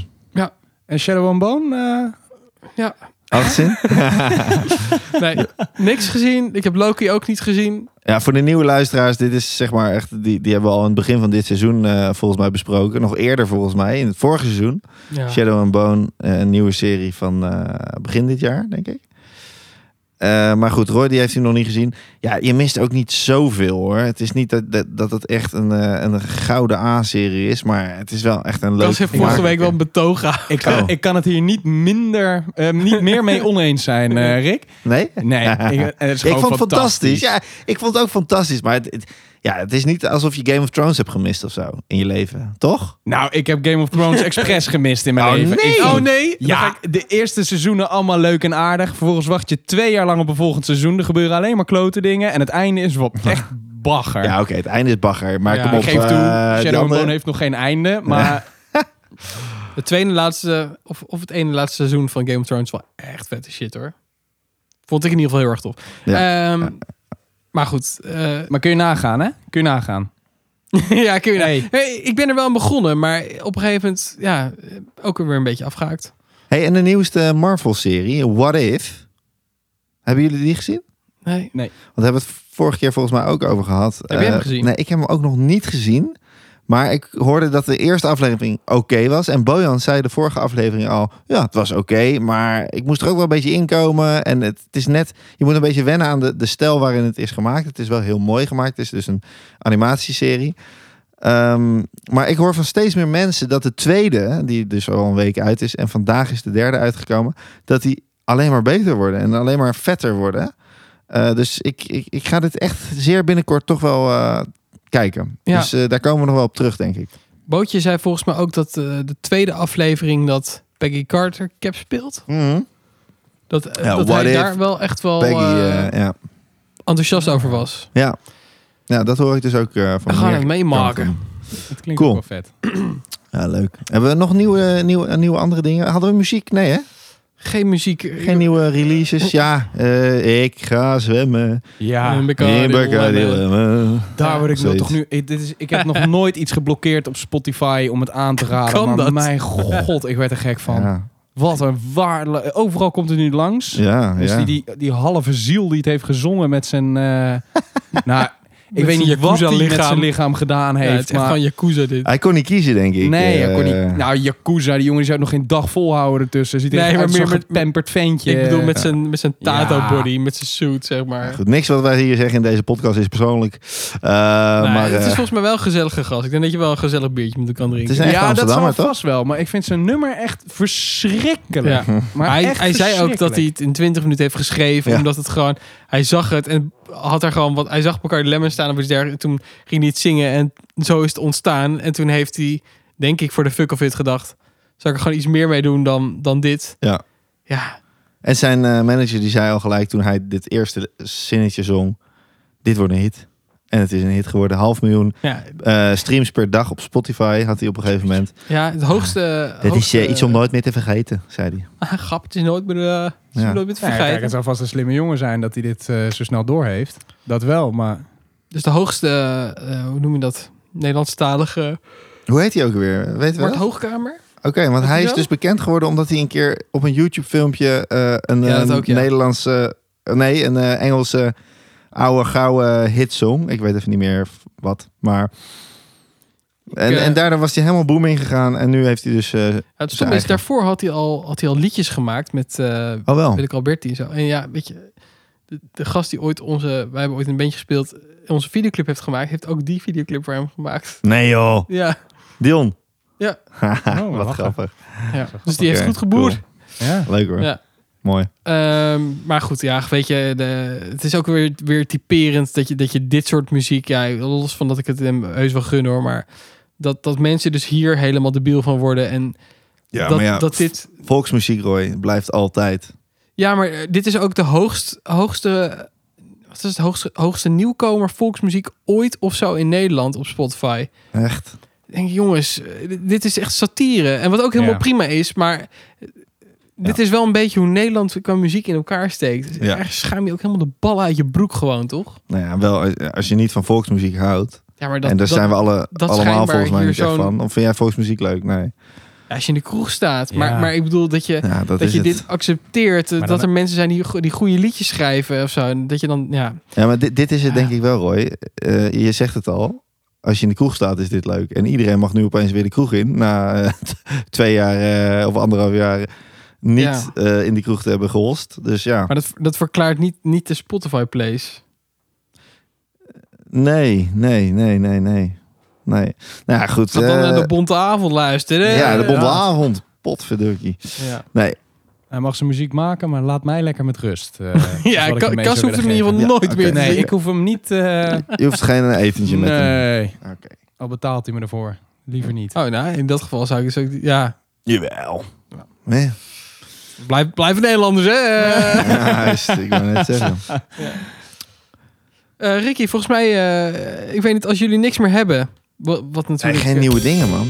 S3: En Shadow and Bone? eh,
S4: Ja.
S1: Afgezien?
S4: Nee, niks gezien. Ik heb Loki ook niet gezien.
S1: Ja, voor de nieuwe luisteraars, dit is zeg maar echt. Die, die hebben we al in het begin van dit seizoen eh, volgens mij besproken. Nog eerder volgens mij, in het vorige seizoen.
S4: Ja.
S1: Shadow and Bone, eh, een nieuwe serie van eh, begin dit jaar, denk ik. Eh, maar goed, Roy die heeft hij nog niet gezien. Ja, je mist ook niet zoveel hoor. Het is niet dat, dat, dat het echt een, eh, een gouden A-serie is, maar het is wel echt een leuk.
S4: Kas heeft vorige week wel een betoog gehouden.
S3: Ik kan,
S1: Oh.
S3: ik kan het hier niet minder, eh, niet meer mee oneens zijn, eh, Rick.
S1: Nee?
S3: Nee, ik, het is
S1: Ik
S3: gewoon
S1: vond het fantastisch. Ja, ik vond het ook fantastisch. Maar het, het- ja, het is niet alsof je Game of Thrones hebt gemist of zo in je leven, toch?
S3: Nou, ik heb Game of Thrones expres gemist in mijn
S1: Oh,
S3: leven.
S1: nee.
S3: Ik
S4: Oh
S3: vond-
S4: nee.
S3: Ja, Dan ga ik de eerste seizoenen allemaal leuk en aardig. Vervolgens wacht je twee jaar lang op een volgend seizoen. Er gebeuren alleen maar klote dingen. En het einde is wat echt bagger.
S1: Ja, oké, het einde is bagger. Maar
S4: Ja,
S1: kom
S4: ik
S1: op.
S3: ik geef toe,
S1: eh, die
S3: Shadow and
S1: andere-
S3: Bone heeft nog geen einde. Maar
S4: De tweede laatste, of, of het ene laatste seizoen van Game of Thrones wel echt vette shit hoor. Vond ik in ieder geval heel erg tof. Ehm, Maar goed. eh,
S3: maar kun je nagaan, hè? Kun je nagaan.
S4: ja, kun je nou-
S3: Hey.
S4: Hey, ik ben er wel aan begonnen, maar op een gegeven moment ja, eh, ook weer een beetje afgehaakt.
S1: Hey, en de nieuwste Marvel-serie, What If? Hebben jullie die gezien?
S4: Nee.
S1: Want we hebben het vorige keer volgens mij ook over gehad.
S4: Heb jij hem
S1: Eh,
S4: gezien?
S1: Nee, ik heb hem ook nog niet gezien. Maar ik hoorde dat de eerste aflevering oké was. En Bojan zei de vorige aflevering al... Ja, het was oké, maar ik moest er ook wel een beetje inkomen. En het, het is net... Je moet een beetje wennen aan de, de stijl waarin het is gemaakt. Het is wel heel mooi gemaakt. Het is dus een animatieserie. Ehm, maar ik hoor van steeds meer mensen dat de tweede... die dus al een week uit is... en vandaag is de derde uitgekomen... dat die alleen maar beter worden. En alleen maar vetter worden. Eh, dus ik, ik, ik ga dit echt zeer binnenkort toch wel eh, kijken.
S4: Ja.
S1: Dus eh, daar komen we nog wel op terug, denk ik.
S4: Bootje zei volgens mij ook dat eh, de tweede aflevering dat Peggy Carter cap speelt. Dat, eh,
S1: Ja,
S4: dat
S1: what
S4: hij
S1: if
S4: daar wel echt wel
S1: Peggy,
S4: eh,
S1: eh, ja.
S4: enthousiast over was.
S1: ja. Ja, dat hoor ik dus ook eh,
S4: We
S1: van
S4: gaan
S1: meer
S4: het meemaken.
S1: kanten.
S3: Het klinkt
S1: Cool.
S3: ook wel vet.
S1: Ja, leuk. Hebben we nog nieuwe, nieuwe, eh, nieuwe andere dingen? Hadden we muziek? Nee, hè?
S4: Geen muziek.
S1: Geen nieuwe releases? Ja, eh, ik ga zwemmen.
S3: Ja,
S4: In Bacardi
S1: In Bacardi
S4: Lemon.
S1: Lemon.
S3: Eh, daar word ik nog
S1: Zoiets.
S3: toch nu... Ik, dit is, ik heb nog nooit iets geblokkeerd op Spotify om het aan te raden.
S4: Kan
S3: maar
S4: dat?
S3: mijn god, ik werd er gek van.
S1: Ja,
S3: Wat een waarde... Overal komt het nu langs.
S1: ja.
S3: Dus
S1: ja.
S3: die, die, die halve ziel die het heeft gezongen met zijn... eh, nou, ik
S4: Met
S3: weet
S4: zijn
S3: niet wat hij met
S4: Yakuza-lichaam.
S3: zijn lichaam gedaan
S4: Ja,
S3: heeft.
S4: het is echt
S3: maar, Ah,
S4: van Yakuza dit.
S1: Hij kon niet kiezen, denk ik.
S3: nee,
S1: Eh,
S3: hij kon niet- nou, Yakuza, die jongen die zou het nog geen dag volhouden ertussen. Ziet er
S4: Nee,
S3: echt
S4: maar
S3: uit
S4: meer
S3: zo'n
S4: met-
S3: gepamperd ventje.
S4: Ik bedoel, met zijn, met zijn
S3: Ja.
S4: tato-body, met zijn suit, zeg maar.
S1: Goed, niks wat wij hier zeggen in deze podcast is persoonlijk. Eh,
S4: Nee,
S1: maar,
S4: het
S1: eh,
S4: is volgens mij wel een gezellige gast. Ik denk dat je wel een gezellig biertje met hem kan
S1: het
S4: drinken.
S1: is een echte
S3: ja, dat
S1: Amsterdammer,
S3: zal
S1: toch?
S3: vast wel. Maar ik vind zijn nummer echt verschrikkelijk.
S4: Ja.
S3: Maar
S4: hij,
S3: echt
S4: hij zei ook dat
S3: verschrikkelijk.
S4: hij het in 20 minuten heeft geschreven.
S1: Ja.
S4: Omdat het gewoon. Hij zag het en had er gewoon wat. Hij zag elkaar lemmen staan of iets dergelijks. En toen ging hij het zingen en zo is het ontstaan. En toen heeft hij, denk ik, voor de fuck of it gedacht. Zou ik er gewoon iets meer mee doen dan, dan dit?
S1: Ja.
S4: Ja.
S1: En zijn eh, manager die zei al gelijk toen hij dit eerste zinnetje zong: Dit wordt een hit. En het is een hit geworden. Half miljoen
S4: Ja,
S1: eh, streams per dag op Spotify had hij op een gegeven moment.
S4: ja het hoogste.
S1: Het is
S4: hoogste-
S1: eh, iets om nooit meer te vergeten, zei hij.
S4: Ah, Grap, het is nooit meer, eh, het is
S1: Ja.
S4: nooit meer te
S3: Ja, kijk,
S4: vergeten.
S3: het zou vast een slimme jongen zijn dat hij dit eh, zo snel door heeft. Dat wel, maar...
S4: dus de hoogste, eh, hoe noem je dat? Nederlandstalige.
S1: Hoe heet hij ook weer? Weet we
S4: Wordt
S1: wel?
S4: Hoogkamer?
S1: Oké, want hij
S4: Is hij
S1: is
S4: zo?
S1: dus bekend geworden omdat hij een keer op een YouTube-filmpje eh, een,
S4: Ja, dat
S1: eh,
S4: ook, ja.
S1: Nederlandse, eh, nee, een eh, Engelse oude gouden hitsong. Ik weet even niet meer f- wat, maar. En,
S4: eh,
S1: en daardoor was hij helemaal boom ingegaan en nu heeft hij dus. eh,
S4: Ja, het
S1: Zijn
S4: stomme is,
S1: eigen.
S4: daarvoor had hij, al, had hij al liedjes gemaakt met eh
S1: oh wel.
S4: Willeke Alberti en zo. En ja, weet je, de, de gast die ooit onze, wij hebben ooit een bandje gespeeld, eh, onze videoclip heeft gemaakt, heeft ook die videoclip voor hem gemaakt.
S1: Nee joh,
S4: Ja,
S1: Dion.
S4: Ja.
S1: Haha,
S3: Oh,
S1: wat
S3: lachen.
S1: grappig.
S4: ja. dus die heeft
S1: Oké,
S4: goed geboerd.
S3: Ja.
S1: Leuk hoor.
S4: Ja.
S1: Mooi.
S4: Ehm, maar goed, ja, weet je, de, het is ook weer, weer typerend dat je, dat je dit soort muziek, ja, los van dat ik het hem heus wel gun hoor, maar dat, dat mensen dus hier helemaal debiel van worden en
S1: Ja,
S4: dat, dat dit
S1: volksmuziek Roy blijft altijd.
S4: Ja, maar eh, dit is ook de hoogst, hoogste. Wat is het hoogste, hoogste nieuwkomer volksmuziek ooit of zo in Nederland op Spotify?
S1: Echt.
S4: Ik Denk jongens, eh, dit- dit is echt satire. En wat ook helemaal
S3: Ja.
S4: prima is, maar eh, dit is wel een beetje hoe Nederland qua muziek in elkaar steekt. Dus
S1: Ja.
S4: Ergens schaam je ook helemaal de ballen uit je broek gewoon, toch?
S1: Nou ja, wel eh, als je niet van volksmuziek houdt.
S4: Ja, maar dat,
S1: en daar
S4: dat,
S1: zijn we alle,
S4: dat
S1: allemaal
S4: schijnbaar
S1: volgens mij
S4: hier
S1: niet echt
S4: zo'n-
S1: van. Of vind jij volksmuziek leuk? Nee.
S4: als je in de kroeg staat.
S3: Ja.
S4: Maar, maar ik bedoel dat je,
S1: Ja, dat,
S4: dat
S1: is
S4: je
S1: het.
S4: dit accepteert. eh,
S3: Maar
S4: dat
S3: dan-
S4: er mensen zijn die, go- die goede liedjes schrijven of zo. En dat je dan, ja.
S1: Ja, maar dit, dit is het
S4: Ja.
S1: denk ik wel, Roy. Eh, je zegt het al. Als je in de kroeg staat, is dit leuk. En iedereen mag nu opeens weer de kroeg in. Na eh, t- twee jaar eh, of anderhalf jaar niet
S4: Ja.
S1: eh, in die kroeg te hebben geholst. Dus ja,
S4: Maar dat, dat verklaart niet, niet de Spotify plays.
S1: nee, nee, nee, nee, nee. Nee. Nou ja, goed.
S4: Dat dan
S1: eh,
S4: naar de Bonte Avond luisteren. hè?
S1: ja, de
S3: Bonte
S4: Ja.
S1: bombeavond. Potverdukkie.
S4: Ja,
S1: Nee,
S3: Hij mag zijn muziek maken, maar laat mij lekker met rust. eh, dat is wat
S4: ja
S3: ik
S4: Ka-
S3: hem mee
S4: Cas
S3: zou
S4: hoeft hem in ieder geval
S3: willen geven.
S1: Ja,
S4: nooit
S1: oké.
S4: meer te
S3: Nee,
S4: zingen.
S3: ik hoef hem niet... eh,
S1: je hoeft geen etentje met hem.
S3: nee,
S1: Oké.
S3: al betaalt hij me ervoor. Liever niet.
S4: Oh, nou, in dat geval zou ik dus ook... Ja,
S1: Jawel. Nee,
S4: blijf, blijf Nederlanders, hè. Eh,
S1: ja, juist, ik wou net zeggen.
S4: eh, Ricky, volgens mij... eh, ik weet niet, als jullie niks meer hebben... Wat, wat
S1: Nee,
S4: natuurlijk...
S1: geen
S4: eh,
S1: nieuwe dingen, man.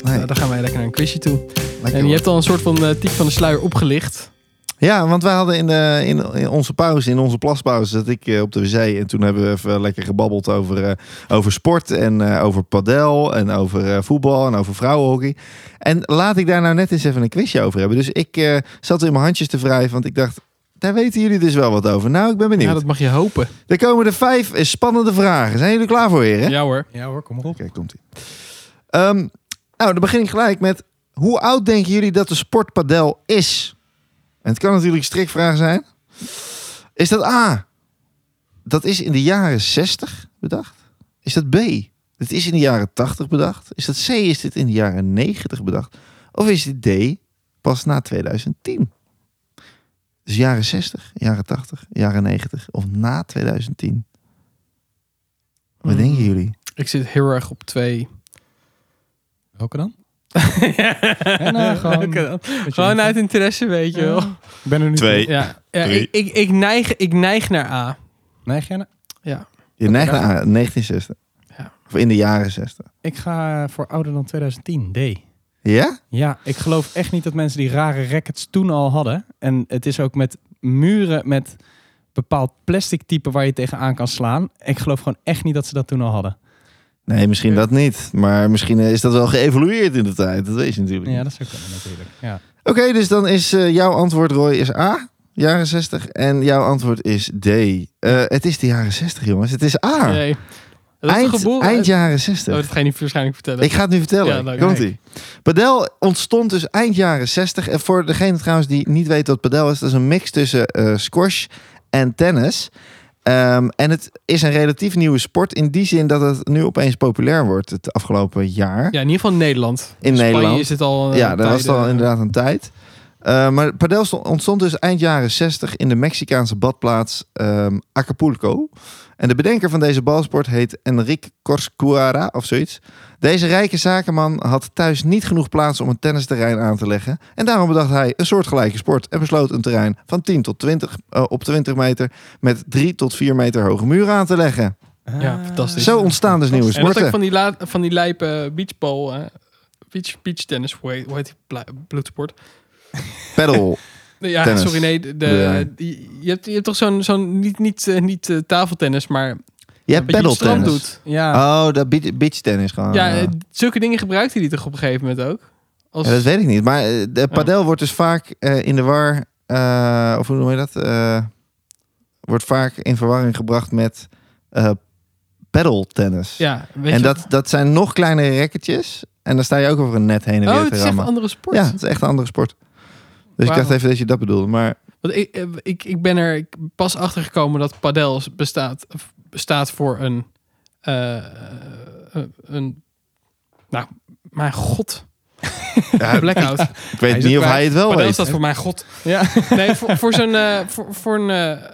S1: Nee,
S4: nou, dan gaan wij lekker naar een quizje toe.
S1: lekker,
S4: en
S1: hoor.
S4: je hebt al een soort van eh tip van de sluier opgelicht.
S1: Ja, want wij hadden in, de, in, in onze pauze, in onze plaspauze, zat ik eh, op de wc. En toen hebben we even lekker gebabbeld over, eh, over sport en eh, over padel en over eh, voetbal en over vrouwenhockey. En laat ik daar nou net eens even een quizje over hebben. Dus ik eh, zat in mijn handjes te wrijven, want ik dacht, daar weten jullie dus wel wat over. Nou, ik ben benieuwd.
S4: Ja, dat mag je hopen.
S1: Er komen er vijf eh, spannende vragen. Zijn jullie er klaar voor, heren?
S4: Ja hoor.
S3: Ja hoor, kom maar op.
S1: Oké, komt ie. nou, dan begin ik gelijk met... Hoe oud denken jullie dat de sportpadel is? En het kan natuurlijk een strikvraag zijn. Is dat A? Dat is in de jaren 60 bedacht. Is dat B? Dat is in de jaren 80 bedacht. Is dat C? Is dit in de jaren 90 bedacht? Of is dit D? Pas na 2010. Dus jaren 60, jaren 80, jaren 90 of na 2010. Wat
S4: Mm.
S1: denken jullie?
S4: Ik zit heel erg op twee.
S3: Welke dan? Ja, nou, gewoon-
S4: Oké dan.
S3: Weet je
S4: Gewoon
S3: niet.
S4: uit interesse, weet je wel.
S3: Ik ben er nu
S1: Twee.
S3: toe.
S4: Ja, ja
S1: Drie.
S4: ik, ik, ik, neig, ik neig naar A.
S3: Nee, Gerne.
S1: Je neigt naar 1960.
S4: Ja.
S1: Of in de jaren 60.
S3: Ik ga voor ouder dan 2010, D.
S1: Ja?
S3: Ja, ik geloof echt niet dat mensen die rare rackets toen al hadden. En het is ook met muren met bepaald plastic type waar je tegenaan kan slaan. Ik geloof gewoon echt niet dat ze dat toen al hadden.
S1: Nee, misschien dat niet. Maar misschien eh, is dat wel geëvolueerd in de tijd. Dat weet je natuurlijk.
S3: Ja,
S1: niet.
S3: dat zou kunnen natuurlijk. Ja.
S1: Oké, dus dan is eh, jouw antwoord, Roy, is A. Jaren 60. En jouw antwoord is D. Eh, het is de jaren 60, jongens. Het is A.
S4: Nee. Dat is
S1: Ah. eind,
S4: geboren.
S1: eind jaren 60.
S4: Oh, dat ga je niet waarschijnlijk vertellen.
S1: Ik ga het nu
S4: Ja, nou,
S1: vertellen.
S4: leuk.
S1: Komt ie. Padel ontstond dus eind jaren 60. En voor degene trouwens die niet weet wat padel is, dat is een mix tussen eh, squash en tennis. Ehm, en het is een relatief nieuwe sport in die zin dat het nu opeens populair wordt het afgelopen jaar.
S4: Ja, in ieder geval in Nederland.
S1: In
S4: Spanje
S1: Nederland.
S4: is dit al. eh,
S1: Ja, dat was
S4: tijden-
S1: dan inderdaad een tijd. Eh, maar padel stond- ontstond dus eind jaren 60 in de Mexicaanse badplaats ehm, Acapulco. En de bedenker van deze balsport heet Enrique Corscuara of zoiets. Deze rijke zakenman had thuis niet genoeg plaats om een tennisterrein aan te leggen. En daarom bedacht hij een soortgelijke sport en besloot een terrein van 10 tot 20 eh, op 20 meter met 3 tot 4 meter hoge muren aan te leggen.
S3: Ah.
S4: Ja, fantastisch.
S1: Zo ontstaan dus nieuwe
S4: En dat ook
S1: sporten.
S4: van die, la- van die lijpe beachbal. eh, beach, beach tennis, hoe heet, hoe heet die pla- bloedsport?
S1: Paddle.
S4: Nee, Ja,
S1: Tennis.
S4: sorry, nee. De,
S1: Ja.
S4: die- je, hebt, je hebt toch zo'n, zo'n niet, niet, eh, niet eh, tafeltennis, maar
S1: Je
S4: wat
S1: hebt
S4: je op het
S1: paddle
S4: strand
S1: tennis.
S4: doet.
S3: Ja,
S1: Oh, dat beach, beach tennis gewoon.
S4: ja,
S1: eh.
S4: eh, zulke dingen gebruikte hij toch op een gegeven moment ook? Als,
S1: Ja, dat weet ik niet. Maar eh, de padel wordt dus vaak eh, in de war, eh, of hoe noem je dat? Eh, wordt vaak in verwarring gebracht met eh paddeltennis.
S4: ja, weet
S1: en
S4: je-
S1: dat, dat zijn nog kleinere racketjes. En dan sta je ook over een net heen en
S4: Oh,
S1: weer
S4: het
S1: te
S4: is echt een
S1: rammen.
S4: andere sport.
S1: Ja, het is echt een andere sport. Dus
S4: Wauw.
S1: ik dacht even dat je dat bedoelde. Maar
S4: Want ik, eh, ik, ik ben er pas achter gekomen dat padel bestaat, of bestaat voor een, eh, eh, een. Nou, mijn god.
S1: Ja,
S4: Blackout.
S1: ik weet
S3: is
S1: niet
S3: het
S1: of hij
S3: kwijt.
S1: het wel
S4: padel
S1: weet.
S4: staat voor mijn god.
S3: ja.
S4: Nee, voor, voor zo'n. eh, voor, voor een. eh,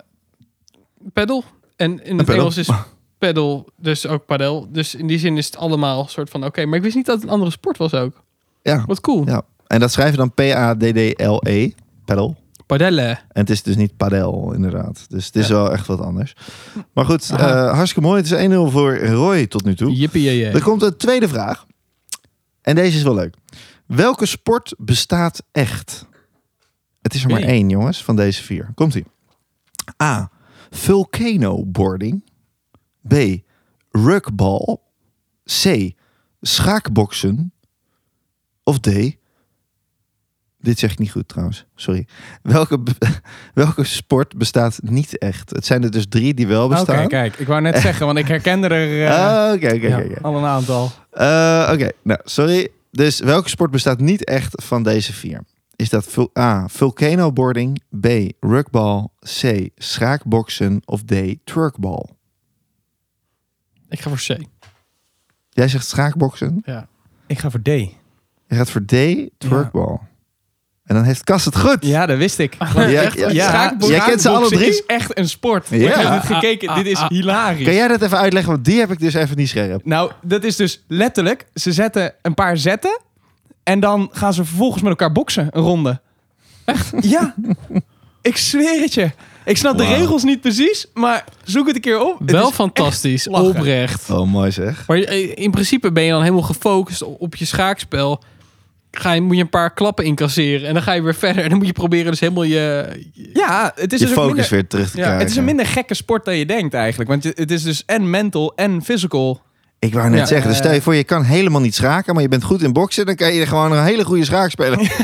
S4: paddle. En in het
S1: paddle.
S4: Engels is paddle dus ook padel. Dus in die zin is het allemaal een soort van oké. Maar ik wist niet dat het een andere sport was ook.
S1: Ja.
S4: Wat cool.
S1: Ja. En dat schrijf je dan P-A-D-D-L-E. Paddel.
S4: Padellen.
S1: En het is dus niet padel, inderdaad. Dus het is
S4: Ja.
S1: wel echt wat anders. Maar goed,
S4: Aha.
S1: eh, hartstikke mooi. Het is 1-0 voor Roy tot nu toe.
S4: Jippie. jee,
S1: Er
S4: jee.
S1: komt een tweede vraag. En deze is wel leuk. Welke sport bestaat echt? Het is er maar
S3: Oké.
S1: één, jongens, van deze vier. Komt-ie. A. Volcanoboarding. B. Rugbal. C. Schaakboksen. of D? Dit zeg ik niet goed trouwens, sorry. Welke, be- welke sport bestaat niet echt? Het zijn er dus drie die wel
S3: Oké,
S1: bestaan. Oké,
S3: Oh, kijk. Ik wou net zeggen, want ik herkende er eh,
S1: oké, Eh. Ah, oké,
S3: ja,
S1: oké.
S3: al een aantal.
S1: Eh, Oké, nou, sorry. Dus welke sport bestaat niet echt van deze vier? Is dat vul- A. Vulcanoboarding, B. Rugbal, C. Schaakboksen of D. Turkbal?
S4: Ik ga voor C.
S1: Jij zegt schaakboksen.
S3: Ik ga voor D.
S1: Je gaat voor D. Turkbal. En dan heeft Kas het goed.
S3: Ja, dat wist ik.
S1: Ja, Ah. ja.
S3: Schaakbo-
S1: Jij kent ze alle
S3: schaakboksen
S1: drie?
S3: is echt een sport.
S1: Ja.
S3: Ik heb het gekeken. Dit is hilarisch.
S1: Kan jij dat even uitleggen? Want die heb ik dus even niet scherp.
S3: Nou, dat is dus letterlijk. Ze zetten een paar zetten. En dan gaan ze vervolgens met elkaar boksen, een ronde. Echt? Ja. Ik zweer het je. Ik snap de
S1: Wauw.
S3: regels niet precies, maar zoek het een keer op. Het
S4: Wel
S3: is
S4: fantastisch,
S3: lachen.
S4: oprecht.
S1: Oh, mooi zeg.
S4: Maar eh, in principe ben je dan helemaal gefocust op op je schaakspel. Ga je, moet je een paar klappen incasseren en dan ga je weer verder. En dan moet je proberen dus helemaal je...
S3: Ja, het is
S1: Je
S3: dus ook
S1: focus
S3: minder,
S1: weer terug te
S4: Ja, het
S1: krijgen.
S3: Het is een minder gekke sport dan je denkt eigenlijk. Want je- het is dus en mental en physical.
S1: Ik
S3: Nou
S1: wou net
S4: Ja,
S1: zeggen, dus
S3: eh,
S1: stel je voor, je kan helemaal niet schaken, maar je bent goed in boksen, dan kan je gewoon een hele goede schaak spelen.
S3: Nou ja,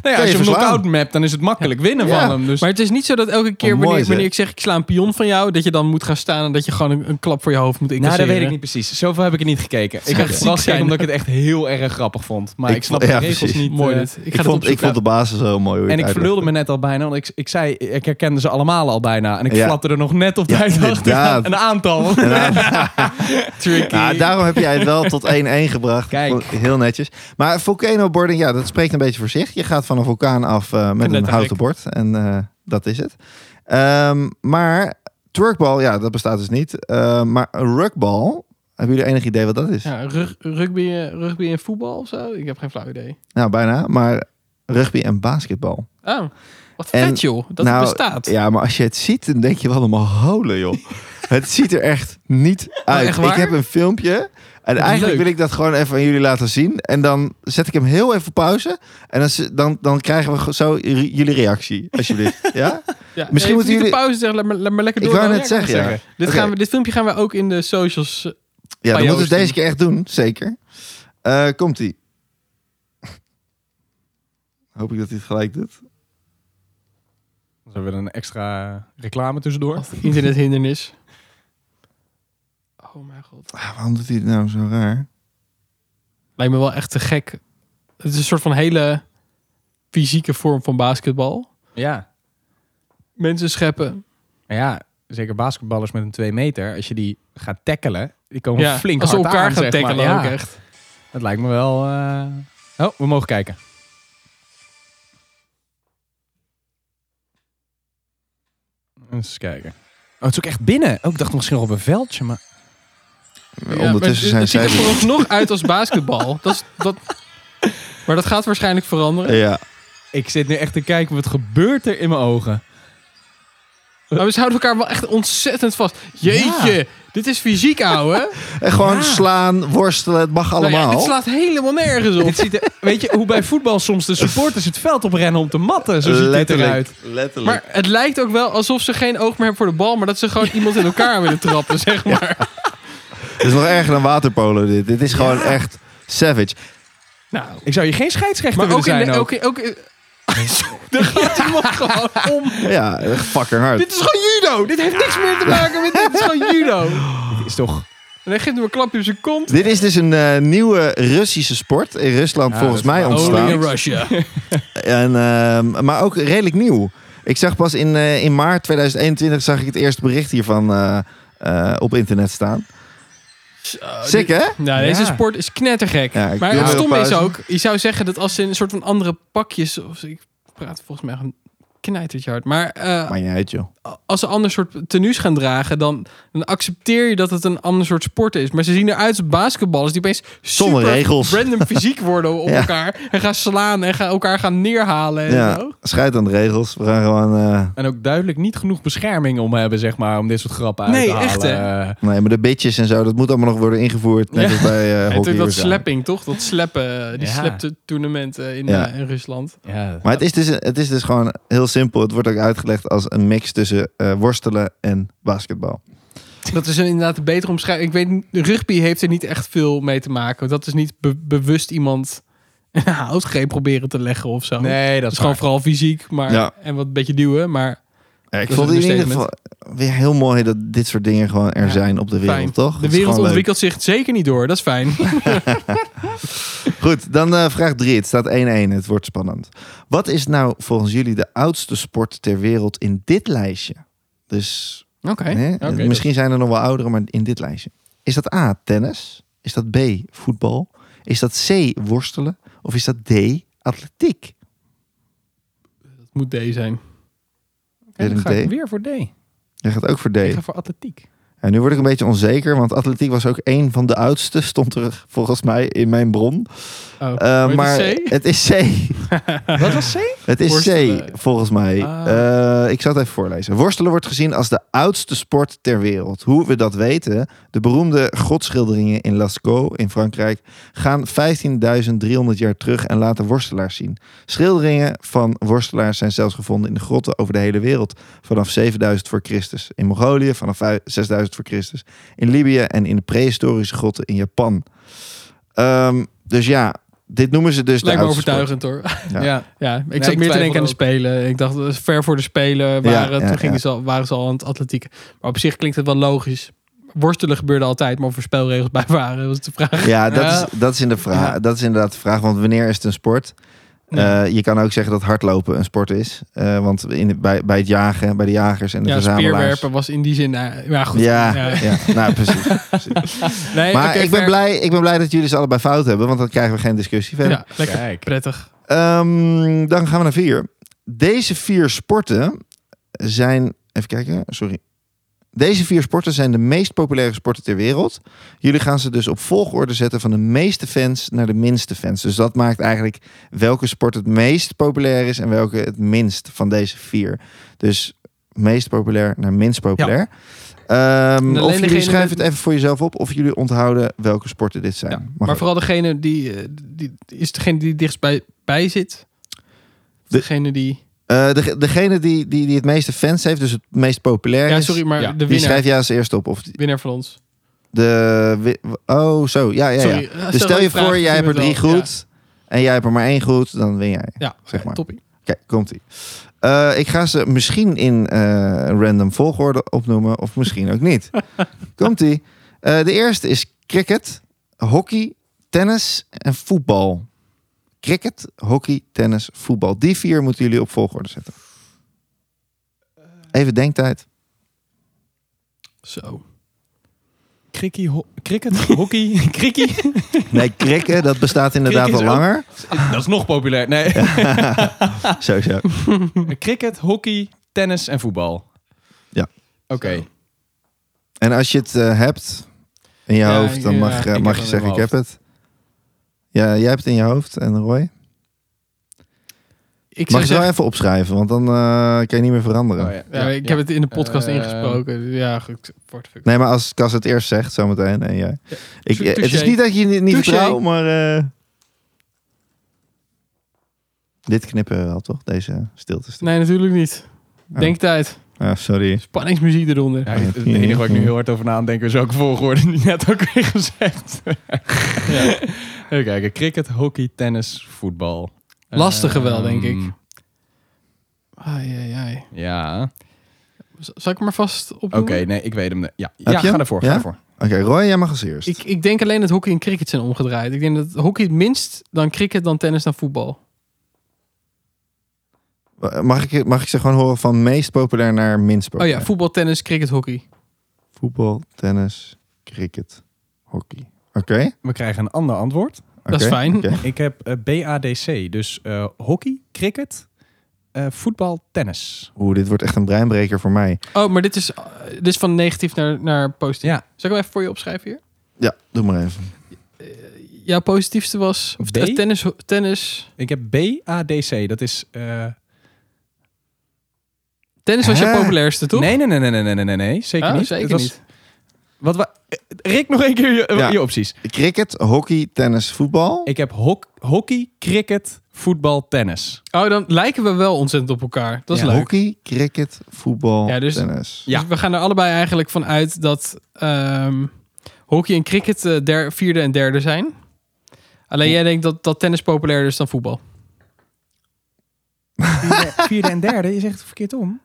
S1: Kan je
S3: als je hem
S1: verslaan.
S3: knock-out mapt, dan is het makkelijk winnen
S1: Ja.
S3: van hem. Dus
S4: Maar het is niet zo dat elke keer
S1: Wat Oh, mooi,
S4: wanneer, wanneer
S1: zeg.
S4: ik zeg ik sla een pion van jou... dat je dan moet gaan staan en dat je gewoon een, een klap voor je hoofd moet
S3: Nou,
S4: incasseren.
S3: dat weet ik niet precies. Zoveel heb ik er niet gekeken. Ik
S4: Zou
S3: heb het
S4: ziek
S3: vooral gekeken
S4: zijn.
S3: omdat ik het echt heel erg grappig vond. Maar
S1: Ik
S3: ik, snap
S1: vond-
S3: de
S1: ja,
S3: regels
S1: precies.
S3: niet.
S4: Mooi
S3: eh,
S4: dit. Ik ga
S1: Ik
S4: het
S1: vond, ik
S4: opzoeken.
S1: vond de basis heel mooi. hoe je
S3: en
S1: het
S3: ik
S1: uitlegde.
S3: verlulde me net al bijna, want ik, ik zei, ik herkende ze allemaal al bijna. En ik
S1: Ja.
S3: flapte er nog net op
S1: Ja,
S3: tijd
S1: inderdaad.
S3: achter. Een aantal. Tricky.
S1: Ja, daarom heb jij het wel tot 1-1 gebracht.
S3: Kijk.
S1: Heel netjes. Maar volcanoboarding, ja, dat spreekt een beetje voor zich. Je gaat van een vulkaan af eh, met een
S4: Knettergek.
S1: houten bord. En eh, dat is het. Ehm, maar twerkbal, ja, dat bestaat dus niet. Eh, maar rugbal, hebben jullie enig idee wat dat is?
S4: Ja, rug- rugby, eh, rugby en voetbal of zo? Ik heb geen flauw idee.
S1: Nou, bijna. Maar rugby en basketbal.
S4: Oh, wat
S1: En-
S4: vet joh, dat
S1: nou,
S4: het bestaat.
S1: Ja, maar als je het ziet, dan denk je wel allemaal holen, joh. het ziet er echt niet uit.
S4: Oh, echt waar?
S1: Ik heb een filmpje. En
S4: is
S1: eigenlijk
S4: leuk.
S1: wil ik dat gewoon even aan jullie laten zien. En dan zet ik hem heel even op pauze. En dan, z- dan, dan krijgen we ge- zo j- jullie reactie, alsjeblieft. ja?
S4: Ja,
S1: Misschien
S4: even
S1: moeten
S4: niet
S1: jullie-
S4: de pauze zeggen, laat maar, laat maar lekker
S1: Ik
S4: door.
S1: wou
S4: dan.
S1: net zeggen,
S3: eh,
S1: ja.
S4: Dit,
S1: Oké.
S4: gaan we, dit filmpje gaan we ook in de socials.
S1: Ja,
S4: eh, Van
S1: dat moeten we
S4: Joost
S1: deze keer echt doen, zeker. Eh, Komt-ie. Hoop ik dat hij het gelijk doet.
S3: We hebben een extra reclame tussendoor.
S4: internethindernis. Oh mijn god.
S1: Ah, waarom doet hij het nou zo raar?
S4: Lijkt me wel echt te gek. Het is een soort van hele fysieke vorm van basketbal.
S3: Ja.
S4: Mensen scheppen.
S3: Maar ja, zeker basketballers met een 2 meter. Als je die gaat tackelen, die komen
S4: Ja,
S3: flink
S4: als ze
S3: hard
S4: elkaar
S3: aan,
S4: gaan
S3: zeg maar.
S4: tackelen
S3: Ja,
S4: ook echt.
S3: Dat lijkt me wel... eh, Oh, we mogen kijken. Eens kijken. Oh, het is ook echt binnen. Oh, ik dacht misschien op een veldje, maar...
S1: Ondertussen zijn zij...
S4: Het ziet er vooralsnog uit als basketbal. dat is, dat... Maar dat gaat waarschijnlijk veranderen.
S1: Ja,
S3: Ik zit nu echt te kijken, wat gebeurt er in mijn ogen?
S4: Maar we houden elkaar wel echt ontzettend vast. Jeetje, dit is fysiek, ouwe.
S1: en gewoon
S3: Ja.
S1: slaan, worstelen, het mag
S4: Nou ja,
S1: allemaal.
S4: dit slaat helemaal nergens op.
S3: Dit ziet er- weet je, hoe bij voetbal soms de supporters het veld oprennen om te matten. Zo ziet het eruit.
S1: Letterlijk.
S4: Maar het lijkt ook wel alsof ze geen oog meer hebben voor de bal, maar dat ze gewoon iemand in elkaar willen trappen, zeg maar.
S1: Het is nog erger dan waterpolo dit. Dit is gewoon echt savage.
S4: Nou,
S3: Ik zou je geen scheidsrechter
S4: maar
S3: willen
S4: ook in,
S3: zijn.
S4: de,
S3: ook.
S4: ook in, ook in- Er gaat iemand gewoon om.
S1: Ja, echt fucking hard.
S4: Dit is gewoon judo. Dit heeft niks meer te maken met dit. is gewoon judo.
S3: is toch...
S4: En hij geeft hem een klapje op zijn kont.
S1: Dit is dus een eh, nieuwe Russische sport. In Rusland
S3: Ja,
S1: volgens
S3: dat is
S1: mij
S3: wel-
S1: ontstaan.
S4: Only in Russia.
S1: En, ehm, maar ook redelijk nieuw. Ik zag pas in, eh, in maart 2021 zag ik het eerste bericht hiervan eh, eh, op internet staan. Sick hè?
S4: Nou, deze
S3: Ja.
S4: sport is knettergek.
S1: Ja, ik
S4: maar
S1: doe
S4: het
S1: weer
S4: stomme
S1: op
S4: is
S1: pauze.
S4: ook, je zou zeggen dat als ze in een soort van andere pakjes... Of, ik praat volgens mij gewoon knijtertje hard. Maar eh,
S1: Maar niet uit joh.
S4: als ze een ander soort tenues gaan dragen... Dan, dan accepteer je dat het een ander soort sport is. Maar ze zien eruit als basketballers die opeens
S1: Zonder
S4: super
S1: regels.
S4: random fysiek worden op
S1: Ja.
S4: elkaar. En gaan slaan en gaan elkaar gaan neerhalen. En
S1: Ja,
S4: zo.
S1: schijt aan de regels. We gaan gewoon... eh,
S3: En ook duidelijk niet genoeg bescherming om hebben, zeg maar, om dit soort grappen uit
S4: Nee,
S3: te halen.
S4: echt, hè?
S3: Eh,
S1: nee, maar de bitches en zo, dat moet allemaal nog worden ingevoerd. Net
S4: Ja.
S1: als bij eh
S4: En
S1: hockey.
S4: natuurlijk dat
S1: of zo.
S4: slapping, toch? Dat slappen, eh, die
S3: Ja.
S4: slapte toernooien in,
S1: Ja.
S4: eh, in Rusland.
S3: Ja.
S1: Maar het is, dus, het is dus gewoon heel simpel. Het wordt ook uitgelegd als een mix tussen eh, worstelen en basketbal.
S4: Dat is een, inderdaad een betere omschrijving. Ik weet, niet, rugby heeft er niet echt veel mee te maken. Dat is niet be- bewust iemand een houtgreep proberen te leggen of zo.
S3: Nee,
S4: dat is gewoon vooral fysiek maar,
S1: Ja.
S4: en wat een beetje duwen. Maar
S1: Ja, ik
S4: Dat is
S1: vond
S4: een
S1: het Dus in ieder geval
S4: understatement.
S1: weer heel mooi dat dit soort dingen gewoon er
S4: Ja,
S1: zijn op de wereld,
S4: fijn.
S1: toch?
S4: de
S1: Het is
S4: wereld
S1: gewoon leuk.
S4: ontwikkelt zich zeker niet door. Dat is fijn.
S1: Goed, dan eh, vraag 3. Het staat 1-1. Het wordt spannend. Wat is nou volgens jullie de oudste sport ter wereld in dit lijstje? Dus
S4: Oké.
S1: hè,
S4: oké, dat-
S1: misschien zijn er nog wel oudere, maar in dit lijstje. Is dat A, tennis? Is dat B, voetbal? Is dat C, worstelen? Of is dat D, atletiek?
S4: dat moet D zijn.
S3: En dan
S1: Willem
S3: ga ik
S1: D.
S3: weer voor D.
S1: Jij gaat ook voor D.
S4: Ik ga voor atletiek.
S1: En nu word ik een beetje onzeker, want atletiek was ook één van de oudste. Stond er volgens mij in mijn bron.
S4: Oh,
S1: Eh,
S4: het
S1: maar
S4: is C?
S1: het is C.
S3: Wat was C?
S1: Het is
S4: Worstelen.
S1: C, volgens mij. Eh, ik zal het even voorlezen. Worstelen wordt gezien als de oudste sport ter wereld. Hoe we dat weten, de beroemde godschilderingen in Lascaux in Frankrijk gaan 15.300 jaar terug en laten worstelaars zien. Schilderingen van worstelaars zijn zelfs gevonden in de grotten over de hele wereld. Vanaf 7000 voor Christus. In Mongolië vanaf vijf- 6000 voor Christus. In Libië en in de prehistorische grotten in Japan. Ehm, dus ja, dit noemen ze dus
S4: Lijkt
S1: de
S4: me
S1: oudste sport.
S4: overtuigend hoor.
S1: Ja.
S4: Ja, ja. ik
S3: ik
S4: zat meer te
S3: twijfel
S4: denken aan de
S3: ook.
S4: Spelen. Ik dacht, dat is ver voor de Spelen waren,
S1: ja,
S4: toen gingen
S1: ja.
S4: Ze al, waren ze al aan het atletiek. Maar op zich klinkt het wel logisch. Worstelen gebeurde altijd, maar of er spelregels bij waren, was de vraag.
S1: Ja, dat,
S4: Ja.
S1: Is, dat, is in de vraag,
S4: Ja.
S1: dat is inderdaad de vraag. Want wanneer is het een sport?
S4: Ja.
S1: Eh, je kan ook zeggen dat hardlopen een sport is. Eh, want in, bij, bij het jagen, bij de jagers en de
S4: Ja,
S1: verzamelaars.
S4: speerwerpen was in die zin... eh, ja, goed.
S1: Ja,
S4: Ja.
S1: ja. nou precies. precies.
S4: Nee,
S1: Maar
S4: oké,
S1: ik, ben
S4: ver.
S1: blij, ik ben blij dat jullie ze allebei fout hebben, want dan krijgen we geen discussie verder.
S4: Ja, lekker
S3: Kijk.
S4: prettig.
S1: Ehm, dan gaan we naar vier. Deze vier sporten zijn. Even kijken, sorry. Deze vier sporten zijn de meest populaire sporten ter wereld. Jullie gaan ze dus op volgorde zetten van de meeste fans naar de minste fans. Dus dat maakt eigenlijk welke sport het meest populair is en welke het minst van deze vier. Dus meest populair naar minst populair. Ehm,
S4: En alleen
S1: of jullie
S4: degene
S1: schrijven
S4: met-
S1: het even voor jezelf op of jullie onthouden welke sporten dit zijn.
S4: Ja,
S1: Mag
S4: maar
S1: ook.
S4: vooral degene die, eh, die, Is degene die dichtst bij, bij zit? Of
S1: De-
S4: degene die...
S1: Eh, de- degene die, die, die het meeste fans heeft, dus het meest populair
S4: Ja,
S1: is,
S4: sorry, maar
S3: Ja.
S4: de
S1: die
S4: winnaar.
S1: schrijf jij als eerste op. Of die-
S4: Winnaar van ons.
S1: de, wi- oh, zo. Ja, ja,
S4: Sorry,
S1: ja.
S4: eh, stel
S1: Dus stel
S4: een
S1: je
S4: vraag,
S1: voor,
S4: ik
S1: jij hebt
S4: doe
S1: er
S4: het
S1: drie
S4: wel. Ja.
S1: goed en jij hebt er maar één goed, dan win jij.
S4: Ja,
S1: Zeg
S4: eh,
S1: maar.
S4: toppie.
S1: Kijk, komt-ie. Eh, ik ga ze misschien in eh, random volgorde opnoemen, of misschien ook niet. komt-ie. Eh, de eerste is cricket, hockey, tennis en voetbal. Cricket, hockey, tennis, voetbal. Die vier moeten jullie op volgorde zetten. Even denktijd.
S4: Zo.
S3: Krikkie, ho- cricket, hockey, krikkie.
S1: Nee, krikken, dat bestaat inderdaad
S3: Krikken
S1: al
S3: is
S1: langer.
S3: dat is nog populair. Nee. Ah.
S1: Sowieso.
S3: Cricket, hockey, tennis en voetbal.
S1: Ja.
S3: Oké.
S1: En als je het eh, hebt in je
S4: Ja,
S1: hoofd, dan
S4: ja,
S1: mag, eh,
S3: ik
S1: mag
S3: heb
S1: je
S3: het in
S1: zeggen, ik
S3: mijn
S1: heb het. Ja, jij hebt het in je hoofd en Roy? Mag
S4: Ik zou
S1: je
S4: zeggen-
S1: zo even opschrijven, want dan eh, kan je niet meer veranderen.
S4: Oh, Ja, maar ik heb het in de podcast
S3: Oh Eh,
S4: ingesproken. Ja, goed. Voor de fuck.
S1: Nee, maar als Cas het eerst zegt, zometeen. En jij.
S4: Ja.
S1: Ik, eh,
S4: Touché.
S1: het is niet dat ik je niet, niet
S4: Touché.
S1: vertrouw, maar... eh, dit knippen we wel, toch? Deze stilte.
S4: Nee, natuurlijk niet.
S1: Oh.
S4: Denktijd.
S1: Ah, sorry.
S4: Spanningsmuziek eronder.
S3: Ja, het het enige waar ik nu heel hard over na aan denk is welke volgorde die net ook weer gezegd.
S4: Ja.
S3: Even kijken. Cricket, hockey, tennis, voetbal.
S4: Lastige wel, denk ik.
S3: Ehm,
S4: Ai, ai, ai.
S3: Ja.
S4: Z- Zal ik hem maar vast
S3: Oké,
S4: opnoemen?
S3: nee, ik weet hem. ne- Ja,
S1: Heb
S3: ja
S1: je
S3: ga
S1: hem?
S3: ervoor. Ga
S1: Ja?
S3: ervoor.
S1: Oké, Roy, jij mag als eerst.
S4: Ik, ik denk alleen dat hockey en cricket zijn omgedraaid. Ik denk dat hockey het minst, dan cricket, dan tennis, dan voetbal.
S1: Eh, Mag, ik, mag ik ze gewoon horen van meest populair naar minst
S4: Oh
S1: populair?
S4: ja, voetbal, tennis, cricket, hockey.
S1: Voetbal, tennis, cricket, hockey. Oké,
S3: We krijgen een ander antwoord.
S4: Dat is
S1: oké,
S4: fijn.
S1: oké.
S3: Ik heb eh, BADC, dus eh, hockey, cricket, eh, voetbal, tennis.
S1: Oeh, dit wordt echt een breinbreker voor mij.
S4: Oh, maar dit is, eh, dit is van negatief naar, naar positief.
S3: Ja.
S4: Zal ik hem even voor je opschrijven hier?
S1: Ja, doe maar even.
S4: Jouw positiefste was of,
S3: B?
S4: eh, tennis, ho- tennis.
S3: Ik heb BADC, dat is... eh,
S4: Tennis was
S1: Hè?
S4: jouw populairste, toch?
S3: Nee, nee, nee, nee, nee, nee, nee, nee, zeker
S4: Ah,
S3: niet.
S4: zeker
S3: Het was-
S4: niet.
S3: Wat, wa- Rick, nog één keer je,
S1: Ja.
S3: je opties.
S1: Cricket, hockey, tennis, voetbal.
S3: Ik heb hok, hockey, cricket, voetbal, tennis.
S4: Oh, dan lijken we wel ontzettend op elkaar. Dat is
S3: Ja.
S4: leuk.
S1: Hockey, cricket, voetbal,
S4: Ja, dus-
S1: tennis.
S3: Ja.
S4: Dus we gaan er allebei eigenlijk van uit dat ehm, hockey en cricket eh, der, vierde en derde zijn. Alleen jij denkt dat, dat tennis populairder is dan voetbal.
S3: Vierde, vierde en derde, je zegt het verkeerd om.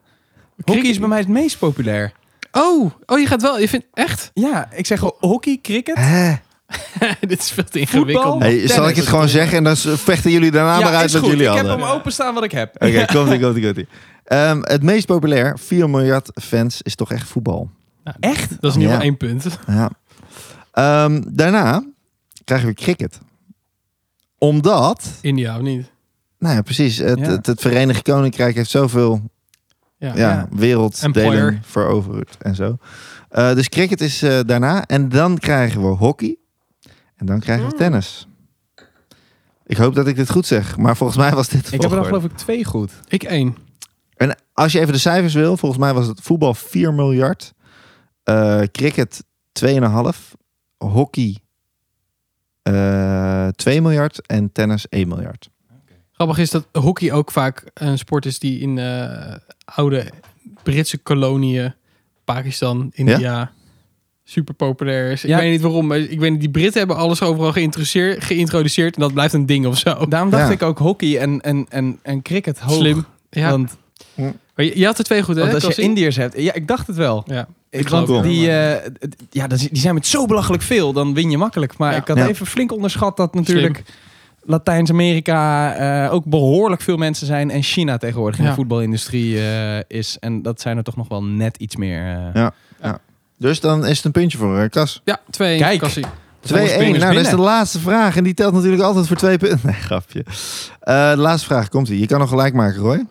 S3: Hockey is bij mij het meest populair.
S4: Oh, oh je gaat wel. Je vindt echt?
S3: Ja, ik zeg wel hockey, cricket.
S1: Hè?
S4: Dit is veel te ingewikkeld.
S3: Voetbal?
S1: Hey, zal ik het gewoon zeggen en dan s- vechten jullie daarna
S3: ja,
S1: maar uit
S3: is
S1: wat
S3: goed.
S1: jullie
S3: ik
S1: hadden?
S3: heb hem openstaan wat ik heb.
S1: Oké, komt ie, komt ie, komt ie. Ehm, het meest populair, 4 miljard fans, is toch echt voetbal.
S3: Echt?
S4: Dat is in ieder geval
S1: Ja.
S4: één punt.
S1: Ja. Ehm, daarna krijgen we cricket. Omdat,
S4: India of niet?
S1: nou ja, precies, het,
S3: Ja.
S1: het, het Verenigd Koninkrijk heeft zoveel
S4: Ja.
S1: ja,
S3: Ja.
S1: werelddelen
S4: Empire.
S1: veroverd en zo. Eh, dus cricket is eh, daarna. En dan krijgen we hockey. En dan krijgen
S3: Ah.
S1: we tennis. Ik hoop dat ik dit goed zeg, maar volgens mij was dit. de
S3: Ik heb er dan
S1: volgorde.
S3: geloof ik twee goed.
S4: Ik één.
S1: En als je even de cijfers wil, volgens mij was het voetbal 4 miljard, eh, cricket 2,5, hockey eh 2 miljard en tennis 1 miljard.
S4: Grappig is dat hockey ook vaak een sport is die in eh, oude Britse koloniën, Pakistan, India, super populair is.
S3: Ja.
S4: Ik weet niet waarom, maar ik weet niet, die Britten hebben alles overal geïnteresseer- geïntroduceerd en dat blijft een ding of zo.
S3: Daarom dacht
S1: Ja.
S3: ik ook hockey en, en, en, en cricket hoog.
S4: Slim. Ja.
S3: Want,
S4: Maar je, je had er twee goed, hè?
S3: want als je
S4: Klassing?
S3: Indiërs hebt... Ja, ik dacht het wel.
S4: Ja.
S3: Ik
S4: geloof
S3: want
S1: het.
S3: die, eh, d- ja, dat is- die zijn met zo belachelijk veel, dan win je makkelijk. Maar
S4: Ja.
S3: ik had
S1: Ja.
S3: even flink onderschat dat natuurlijk Latijns-Amerika eh, ook behoorlijk veel mensen zijn. En China tegenwoordig in
S4: Ja.
S3: de voetbalindustrie eh, is. En dat zijn er toch nog wel net iets meer. eh.
S1: Ja. Dus dan is het een puntje voor eh, Kas. 2-1.
S4: Ja, twee.
S3: Kijk.
S4: Kassie.
S1: Nou,
S3: springers
S1: dat is de
S3: binnen.
S1: laatste vraag. En die telt natuurlijk altijd voor twee punten. Nee, grapje. Eh, de laatste vraag komt ie. Je kan nog gelijk maken, Roy.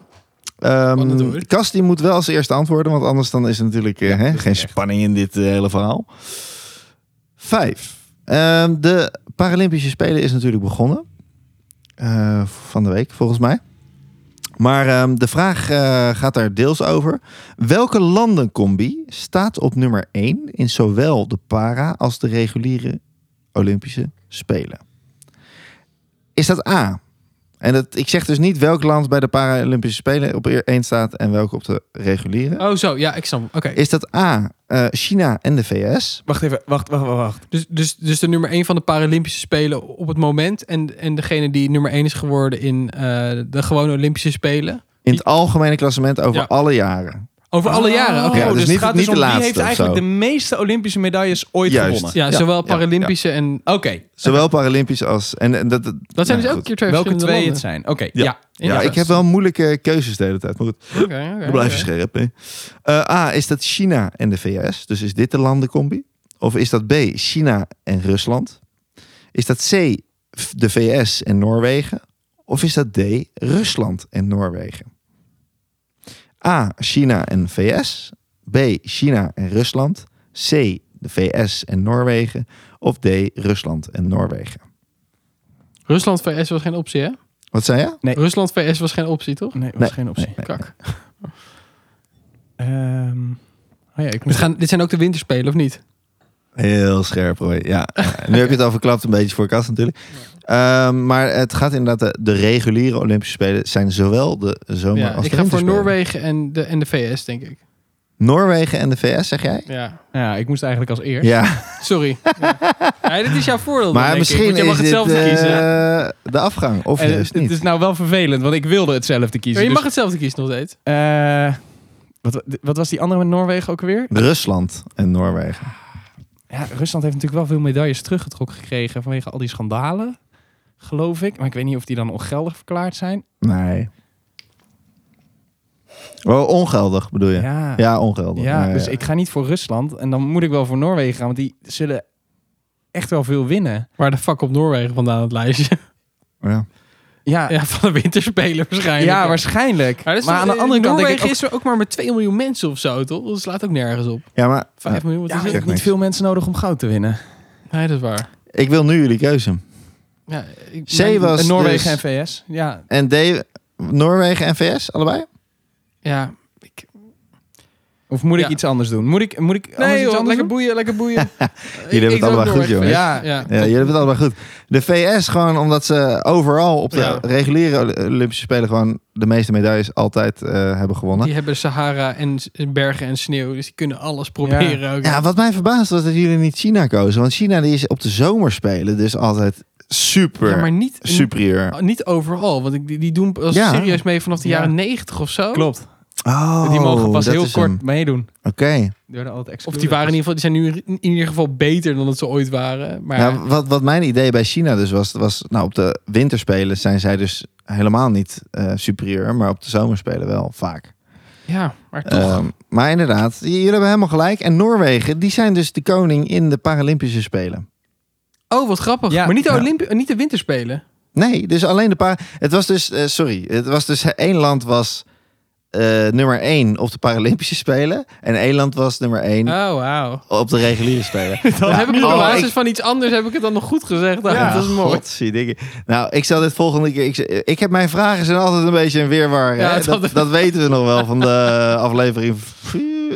S4: Spannend,
S1: Ehm
S4: hoor.
S1: Kas die moet wel als eerste antwoorden, want anders dan is er natuurlijk eh, hè, geen spanning in dit eh, hele verhaal. Vijf. Ehm, de Paralympische Spelen is natuurlijk begonnen. Eh, van de week, volgens mij. Maar ehm, de vraag eh, gaat daar deels over. Welke landencombi staat op nummer 1 in zowel de para als de reguliere Olympische Spelen? Is dat A? En dat, ik zeg dus niet welk land bij de Paralympische Spelen op 1 staat en welke op de reguliere.
S4: Oh, zo. Ja, ik snap. hem. Oké.
S1: Is dat A, eh, China en de VS?
S3: Wacht even, wacht, wacht, wacht. wacht.
S4: Dus, dus, dus de nummer 1 van de Paralympische Spelen op het moment. En, en degene die nummer 1 is geworden in eh, de gewone Olympische Spelen.
S1: In het algemene klassement over
S4: Ja.
S1: alle jaren.
S4: Over alle jaren. Oké.
S1: Ja, dus
S3: dus,
S1: niet-
S3: het gaat
S1: niet
S3: dus
S1: de
S3: om wie
S1: laatste
S3: heeft
S1: of
S3: eigenlijk
S1: zo.
S3: de meeste Olympische medailles ooit
S1: Juist.
S3: gewonnen.
S4: Ja,
S1: Ja,
S4: zowel
S1: ja,
S4: Paralympische en... Oh,
S3: Oké,
S1: Zowel Paralympisch als... En, en dat,
S4: Dat zijn
S1: nou,
S4: dus ook
S1: goed.
S4: keer twee
S3: welke twee
S4: verschillende
S3: het zijn. Oké,
S1: Ja.
S4: landen.
S1: Ja, ik heb wel moeilijke keuzes de hele tijd. Maar goed,
S4: Oké, oké,
S1: Dan blijf je
S4: oké.
S1: scherp. Hè? Eh, A, is dat China en de VS? Dus is dit de landencombi? Of is dat B, China en Rusland? Is dat C, f- de VS en Noorwegen? Of is dat D, Rusland en Noorwegen? A, China en VS? B, China en Rusland? C, de VS en Noorwegen? Of D, Rusland en Noorwegen?
S4: Rusland VS was geen optie, hè?
S1: Wat zei je?
S3: Nee.
S4: Rusland VS was geen optie, toch?
S3: Nee, dat
S1: Nee,
S3: is geen optie.
S4: Kak.
S3: Ehm, oh ja, ik
S4: Dit,
S3: moet...
S4: Dus gaan, dit zijn ook de winterspelen, of niet?
S1: Heel scherp, Roy. Ja. Nu heb je het al verklapt, een beetje voor kast natuurlijk. Ehm, maar het gaat inderdaad, de, de reguliere Olympische Spelen zijn zowel de zomer
S4: Ja,
S1: als de
S4: ik ga voor
S1: winterspelen.
S4: Noorwegen en de, en de VS, denk ik.
S1: Noorwegen en de VS, zeg jij?
S4: Ja.
S3: Ja, ik moest eigenlijk als eerst.
S1: Ja,
S4: Sorry. ja. Ja, dit is jouw voordeel. dan, denk
S1: maar
S4: ik.
S1: misschien
S4: Want jij mag
S1: is dit
S4: hetzelfde kiezen.
S1: eh, de afgang, of
S3: En
S1: juist
S3: het, het
S1: niet.
S3: is nou wel vervelend, want ik wilde hetzelfde
S4: Ja, Oh,
S3: kiezen.
S4: je
S3: dus-
S4: mag hetzelfde kiezen nog steeds.
S3: Eh, wat, wat was die andere met Noorwegen ook weer?
S1: Rusland en Noorwegen.
S3: Ja, Rusland heeft natuurlijk wel veel medailles teruggetrokken gekregen vanwege al die schandalen, geloof ik. Maar ik weet niet of die dan ongeldig verklaard zijn.
S1: Nee. Oh, ongeldig bedoel je? Ja,
S3: ja.
S1: ongeldig.
S3: Ja,
S1: Ja,
S3: dus
S1: ja.
S3: ik ga niet voor Rusland en dan moet ik wel voor Noorwegen gaan, want die zullen echt wel veel winnen.
S4: Waar de fuck op Noorwegen vandaan het lijstje?
S1: Ja.
S3: Ja, ja,
S4: Ja, van de winterspelen waarschijnlijk. Maar,
S3: waarschijnlijk. Maar,
S4: dat is toch-
S3: aan de andere kant
S4: dus eh,
S3: denk
S4: Noorwegen
S3: ik ook,
S4: is er ook maar met 2 miljoen mensen of zo, Oh, toch? Dat slaat ook nergens op.
S1: Ja, maar
S4: 5 miljoen, wat is
S3: ja, maar je
S4: het?
S1: zeg
S3: hebt niet
S1: niks.
S3: veel mensen nodig om goud te winnen.
S4: Nee, dat is waar.
S1: eh, ik wil nu jullie keuze.
S4: Ja, ik,
S1: C was
S3: En Noorwegen
S1: dus-
S3: en VS. Ja,
S1: En D, Noorwegen en VS, allebei?
S4: ja, ik,
S3: of moet ik
S4: Ja.
S3: iets anders doen? Moet ik, moet ik anders
S4: nee,
S3: iets
S4: joh,
S3: anders
S4: lekker
S3: doen?
S4: boeien, lekker boeien.
S1: Jullie hebben het allemaal goed,
S4: joh.
S1: jongens.
S4: Ja, ja.
S1: Ja, jullie hebben het allemaal goed. De VS gewoon omdat ze overal op de
S4: Ja.
S1: reguliere Oli- Olympische Spelen gewoon de meeste medailles altijd eh, hebben gewonnen.
S4: Die hebben Sahara en s- bergen en sneeuw, dus die kunnen alles proberen. ook.
S1: Ja, wat mij verbaasd was dat jullie niet China kozen. Want China die is op de zomerspelen dus altijd super
S4: Ja, maar niet,
S1: superieur.
S4: niet overal. Want ik- die, die doen als
S1: Ja.
S4: serieus mee vanaf de
S3: Ja.
S4: jaren 90 of zo.
S3: Klopt.
S1: Oh,
S3: die mogen pas
S1: dat
S3: heel
S1: is
S3: kort
S1: hem.
S3: meedoen.
S1: Oké.
S3: Die werden altijd
S4: Of
S3: excluded.
S4: die waren in ieder geval, die zijn nu in ieder geval beter dan dat ze ooit waren. Maar
S1: Ja, Nou, wat, wat mijn idee bij China dus was, was nou, op de winterspelen zijn zij dus helemaal niet eh, superieur, maar op de zomerspelen wel vaak.
S4: ja, maar toch.
S1: Ehm, maar inderdaad, j- jullie hebben helemaal gelijk. En Noorwegen, die zijn dus de koning in de Paralympische Spelen.
S4: oh, wat grappig.
S3: Ja.
S4: maar niet de,
S3: Ja.
S4: Olympi eh, niet de winterspelen.
S1: Nee, dus alleen de paar. Het was dus, eh, sorry, het was dus één land was eh, nummer één op de Paralympische Spelen en één land was nummer één
S4: Oh, wauw.
S1: op de reguliere Spelen.
S4: Dan heb ik het
S1: Oh,
S4: op basis
S1: ik-
S4: van iets anders heb ik het dan nog goed gezegd. Ah,
S1: Ja,
S4: dat is mooi.
S1: godverdikke. Nou, ik zal dit volgende keer. Ik, ik heb mijn vragen zijn altijd een beetje een weerwar.
S4: Ja,
S1: hè?
S4: dat-
S1: Dat, dat weten we nog wel van de aflevering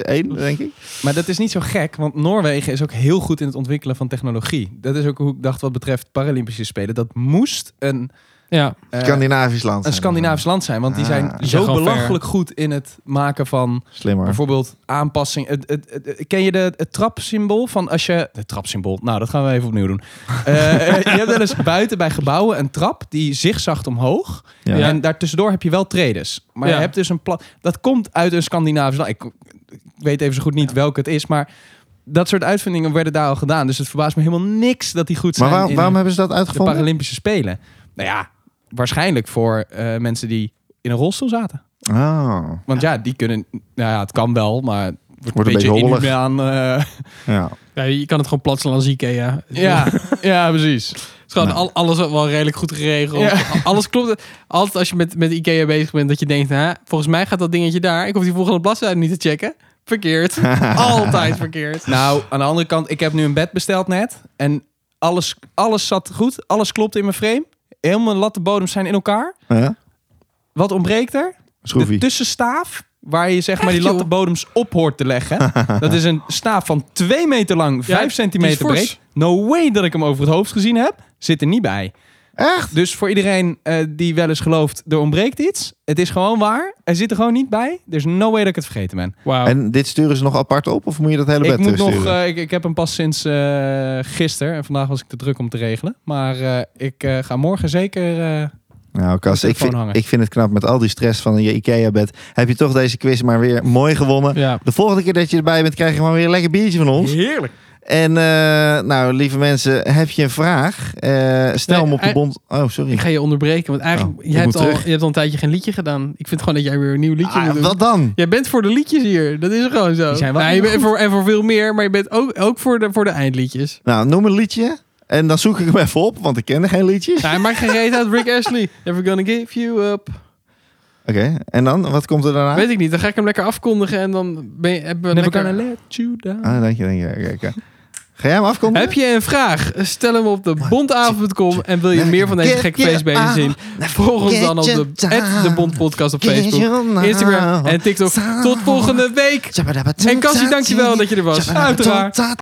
S1: 1, denk ik.
S3: Maar dat is niet zo gek, want Noorwegen is ook heel goed in het ontwikkelen van technologie. Dat is ook hoe ik dacht wat betreft Paralympische Spelen. Dat moest een,
S4: Ja,
S3: eh,
S1: Scandinavisch land.
S3: een
S1: zijn.
S3: Scandinavisch land zijn, want die zijn
S1: Ah.
S4: Die zijn
S3: zo
S4: gewoon
S3: belachelijk goed in het maken van
S1: Slimmer.
S3: Bijvoorbeeld aanpassing. Het, het, het- ken je de, het trapsymbool van als je. Het trapsymbool. Nou, dat gaan we even opnieuw doen. Eh, eh, je hebt wel eens buiten bij gebouwen een trap die zigzagt omhoog.
S1: Ja.
S3: En daartussendoor heb je wel tredes. Maar
S4: Ja.
S3: je hebt dus een plat. Dat komt uit een Scandinavisch land. Ik, ik weet even zo goed niet welke het is, maar. Dat soort uitvindingen werden daar al gedaan. Dus het verbaast me helemaal niks dat die goed zijn
S1: Maar waar-
S3: in
S1: waarom hebben ze dat
S3: de
S1: uitgevonden?
S3: Paralympische Spelen. Nou ja, waarschijnlijk voor eh, mensen die in een rolstoel zaten.
S1: Oh,
S3: Want ja, die kunnen... Nou ja, het kan wel, maar het wordt,
S1: Wordt
S3: een
S1: een
S3: beetje,
S1: beetje hobbelig.
S3: inhumaan. eh,
S1: ja.
S4: Ja, je kan het gewoon platselen als Ikea.
S3: ja, ja, precies.
S4: Het is gewoon
S1: Nee.
S4: al, alles wel redelijk goed geregeld.
S3: Ja.
S4: Alles klopt. Altijd als je met, met Ikea bezig bent, dat je denkt, hè, volgens mij gaat dat dingetje daar. Ik hoef die volgende bladzijde niet te checken. Verkeerd. Altijd verkeerd.
S3: Nou, aan de andere kant, ik heb nu een bed besteld net. En alles, alles zat goed. Alles klopt in mijn frame. Helemaal mijn latte bodems zijn in elkaar.
S1: Ja?
S3: Wat ontbreekt er? De
S1: Schroefie.
S3: tussenstaaf, waar je zeg maar die
S4: Echt, joh?
S3: latte bodems op hoort te leggen. dat is een staaf van 2 meter lang, 5
S4: die is
S3: centimeter
S4: fors.
S3: breed. No way dat ik hem over het hoofd gezien heb. Zit er niet bij.
S1: Echt?
S3: Dus voor iedereen eh, die wel eens gelooft, er ontbreekt iets. Het is gewoon waar. Er zit er gewoon niet bij. There's no way dat ik het vergeten ben.
S4: Wauw.
S1: En dit sturen ze nog apart op of moet je dat hele bed
S3: Ik, moet nog,
S1: terugsturen?
S3: eh, ik, ik heb hem pas sinds eh gisteren. En vandaag was ik te druk om te regelen. Maar eh, ik eh, ga morgen zeker... eh,
S1: Nou, Kas,
S3: de
S1: ik
S3: telefoon
S1: vind,
S3: hangen.
S1: ik vind het knap met al die stress van je IKEA-bed. Heb je toch deze quiz maar weer mooi gewonnen.
S4: ja.
S1: De volgende keer dat je erbij bent, krijg je maar weer een lekker biertje van ons.
S4: Heerlijk.
S1: En eh, nou, lieve mensen, heb je een vraag? Eh, stel
S4: Nee,
S1: hem op de
S4: hij-
S1: bond. Oh,
S4: Ik
S1: sorry.
S4: ga je onderbreken, want eigenlijk,
S1: Oh, ik
S4: jij hebt
S1: moet
S4: al, je
S1: terug.
S4: hebt al een tijdje geen liedje gedaan. Ik vind gewoon dat jij weer een nieuw liedje
S1: Ah,
S4: moet doen.
S1: wat dan?
S4: Jij bent voor de liedjes hier. Dat is gewoon zo.
S3: Die zijn wel
S4: Nou, je
S3: heel
S4: bent voor, en voor veel meer, maar je bent ook, ook voor, de, voor de eindliedjes.
S1: Nou, noem een liedje. En dan zoek ik hem even op, want ik ken er geen liedjes.
S4: Nou, hij maakt geen reet uit. Rick Ashley. Never gonna give you up.
S1: Oké, en dan? Wat komt er daarna?
S4: Weet ik niet. Dan ga ik hem lekker afkondigen en dan ben je, hebben we
S3: never
S4: lekker...
S3: gonna let you down.
S1: Ah, dank je, dank je. Oké, oké. Ga jij hem afkomen?
S4: Heb je een vraag? Stel hem op de bondavond.com en wil je meer van deze gekke feestbeesten zien? Volg ons dan op de, at de Bond Podcast op Facebook, Instagram en TikTok. Tot volgende week! En Cassie, dankjewel dat je er was. Uiteraard.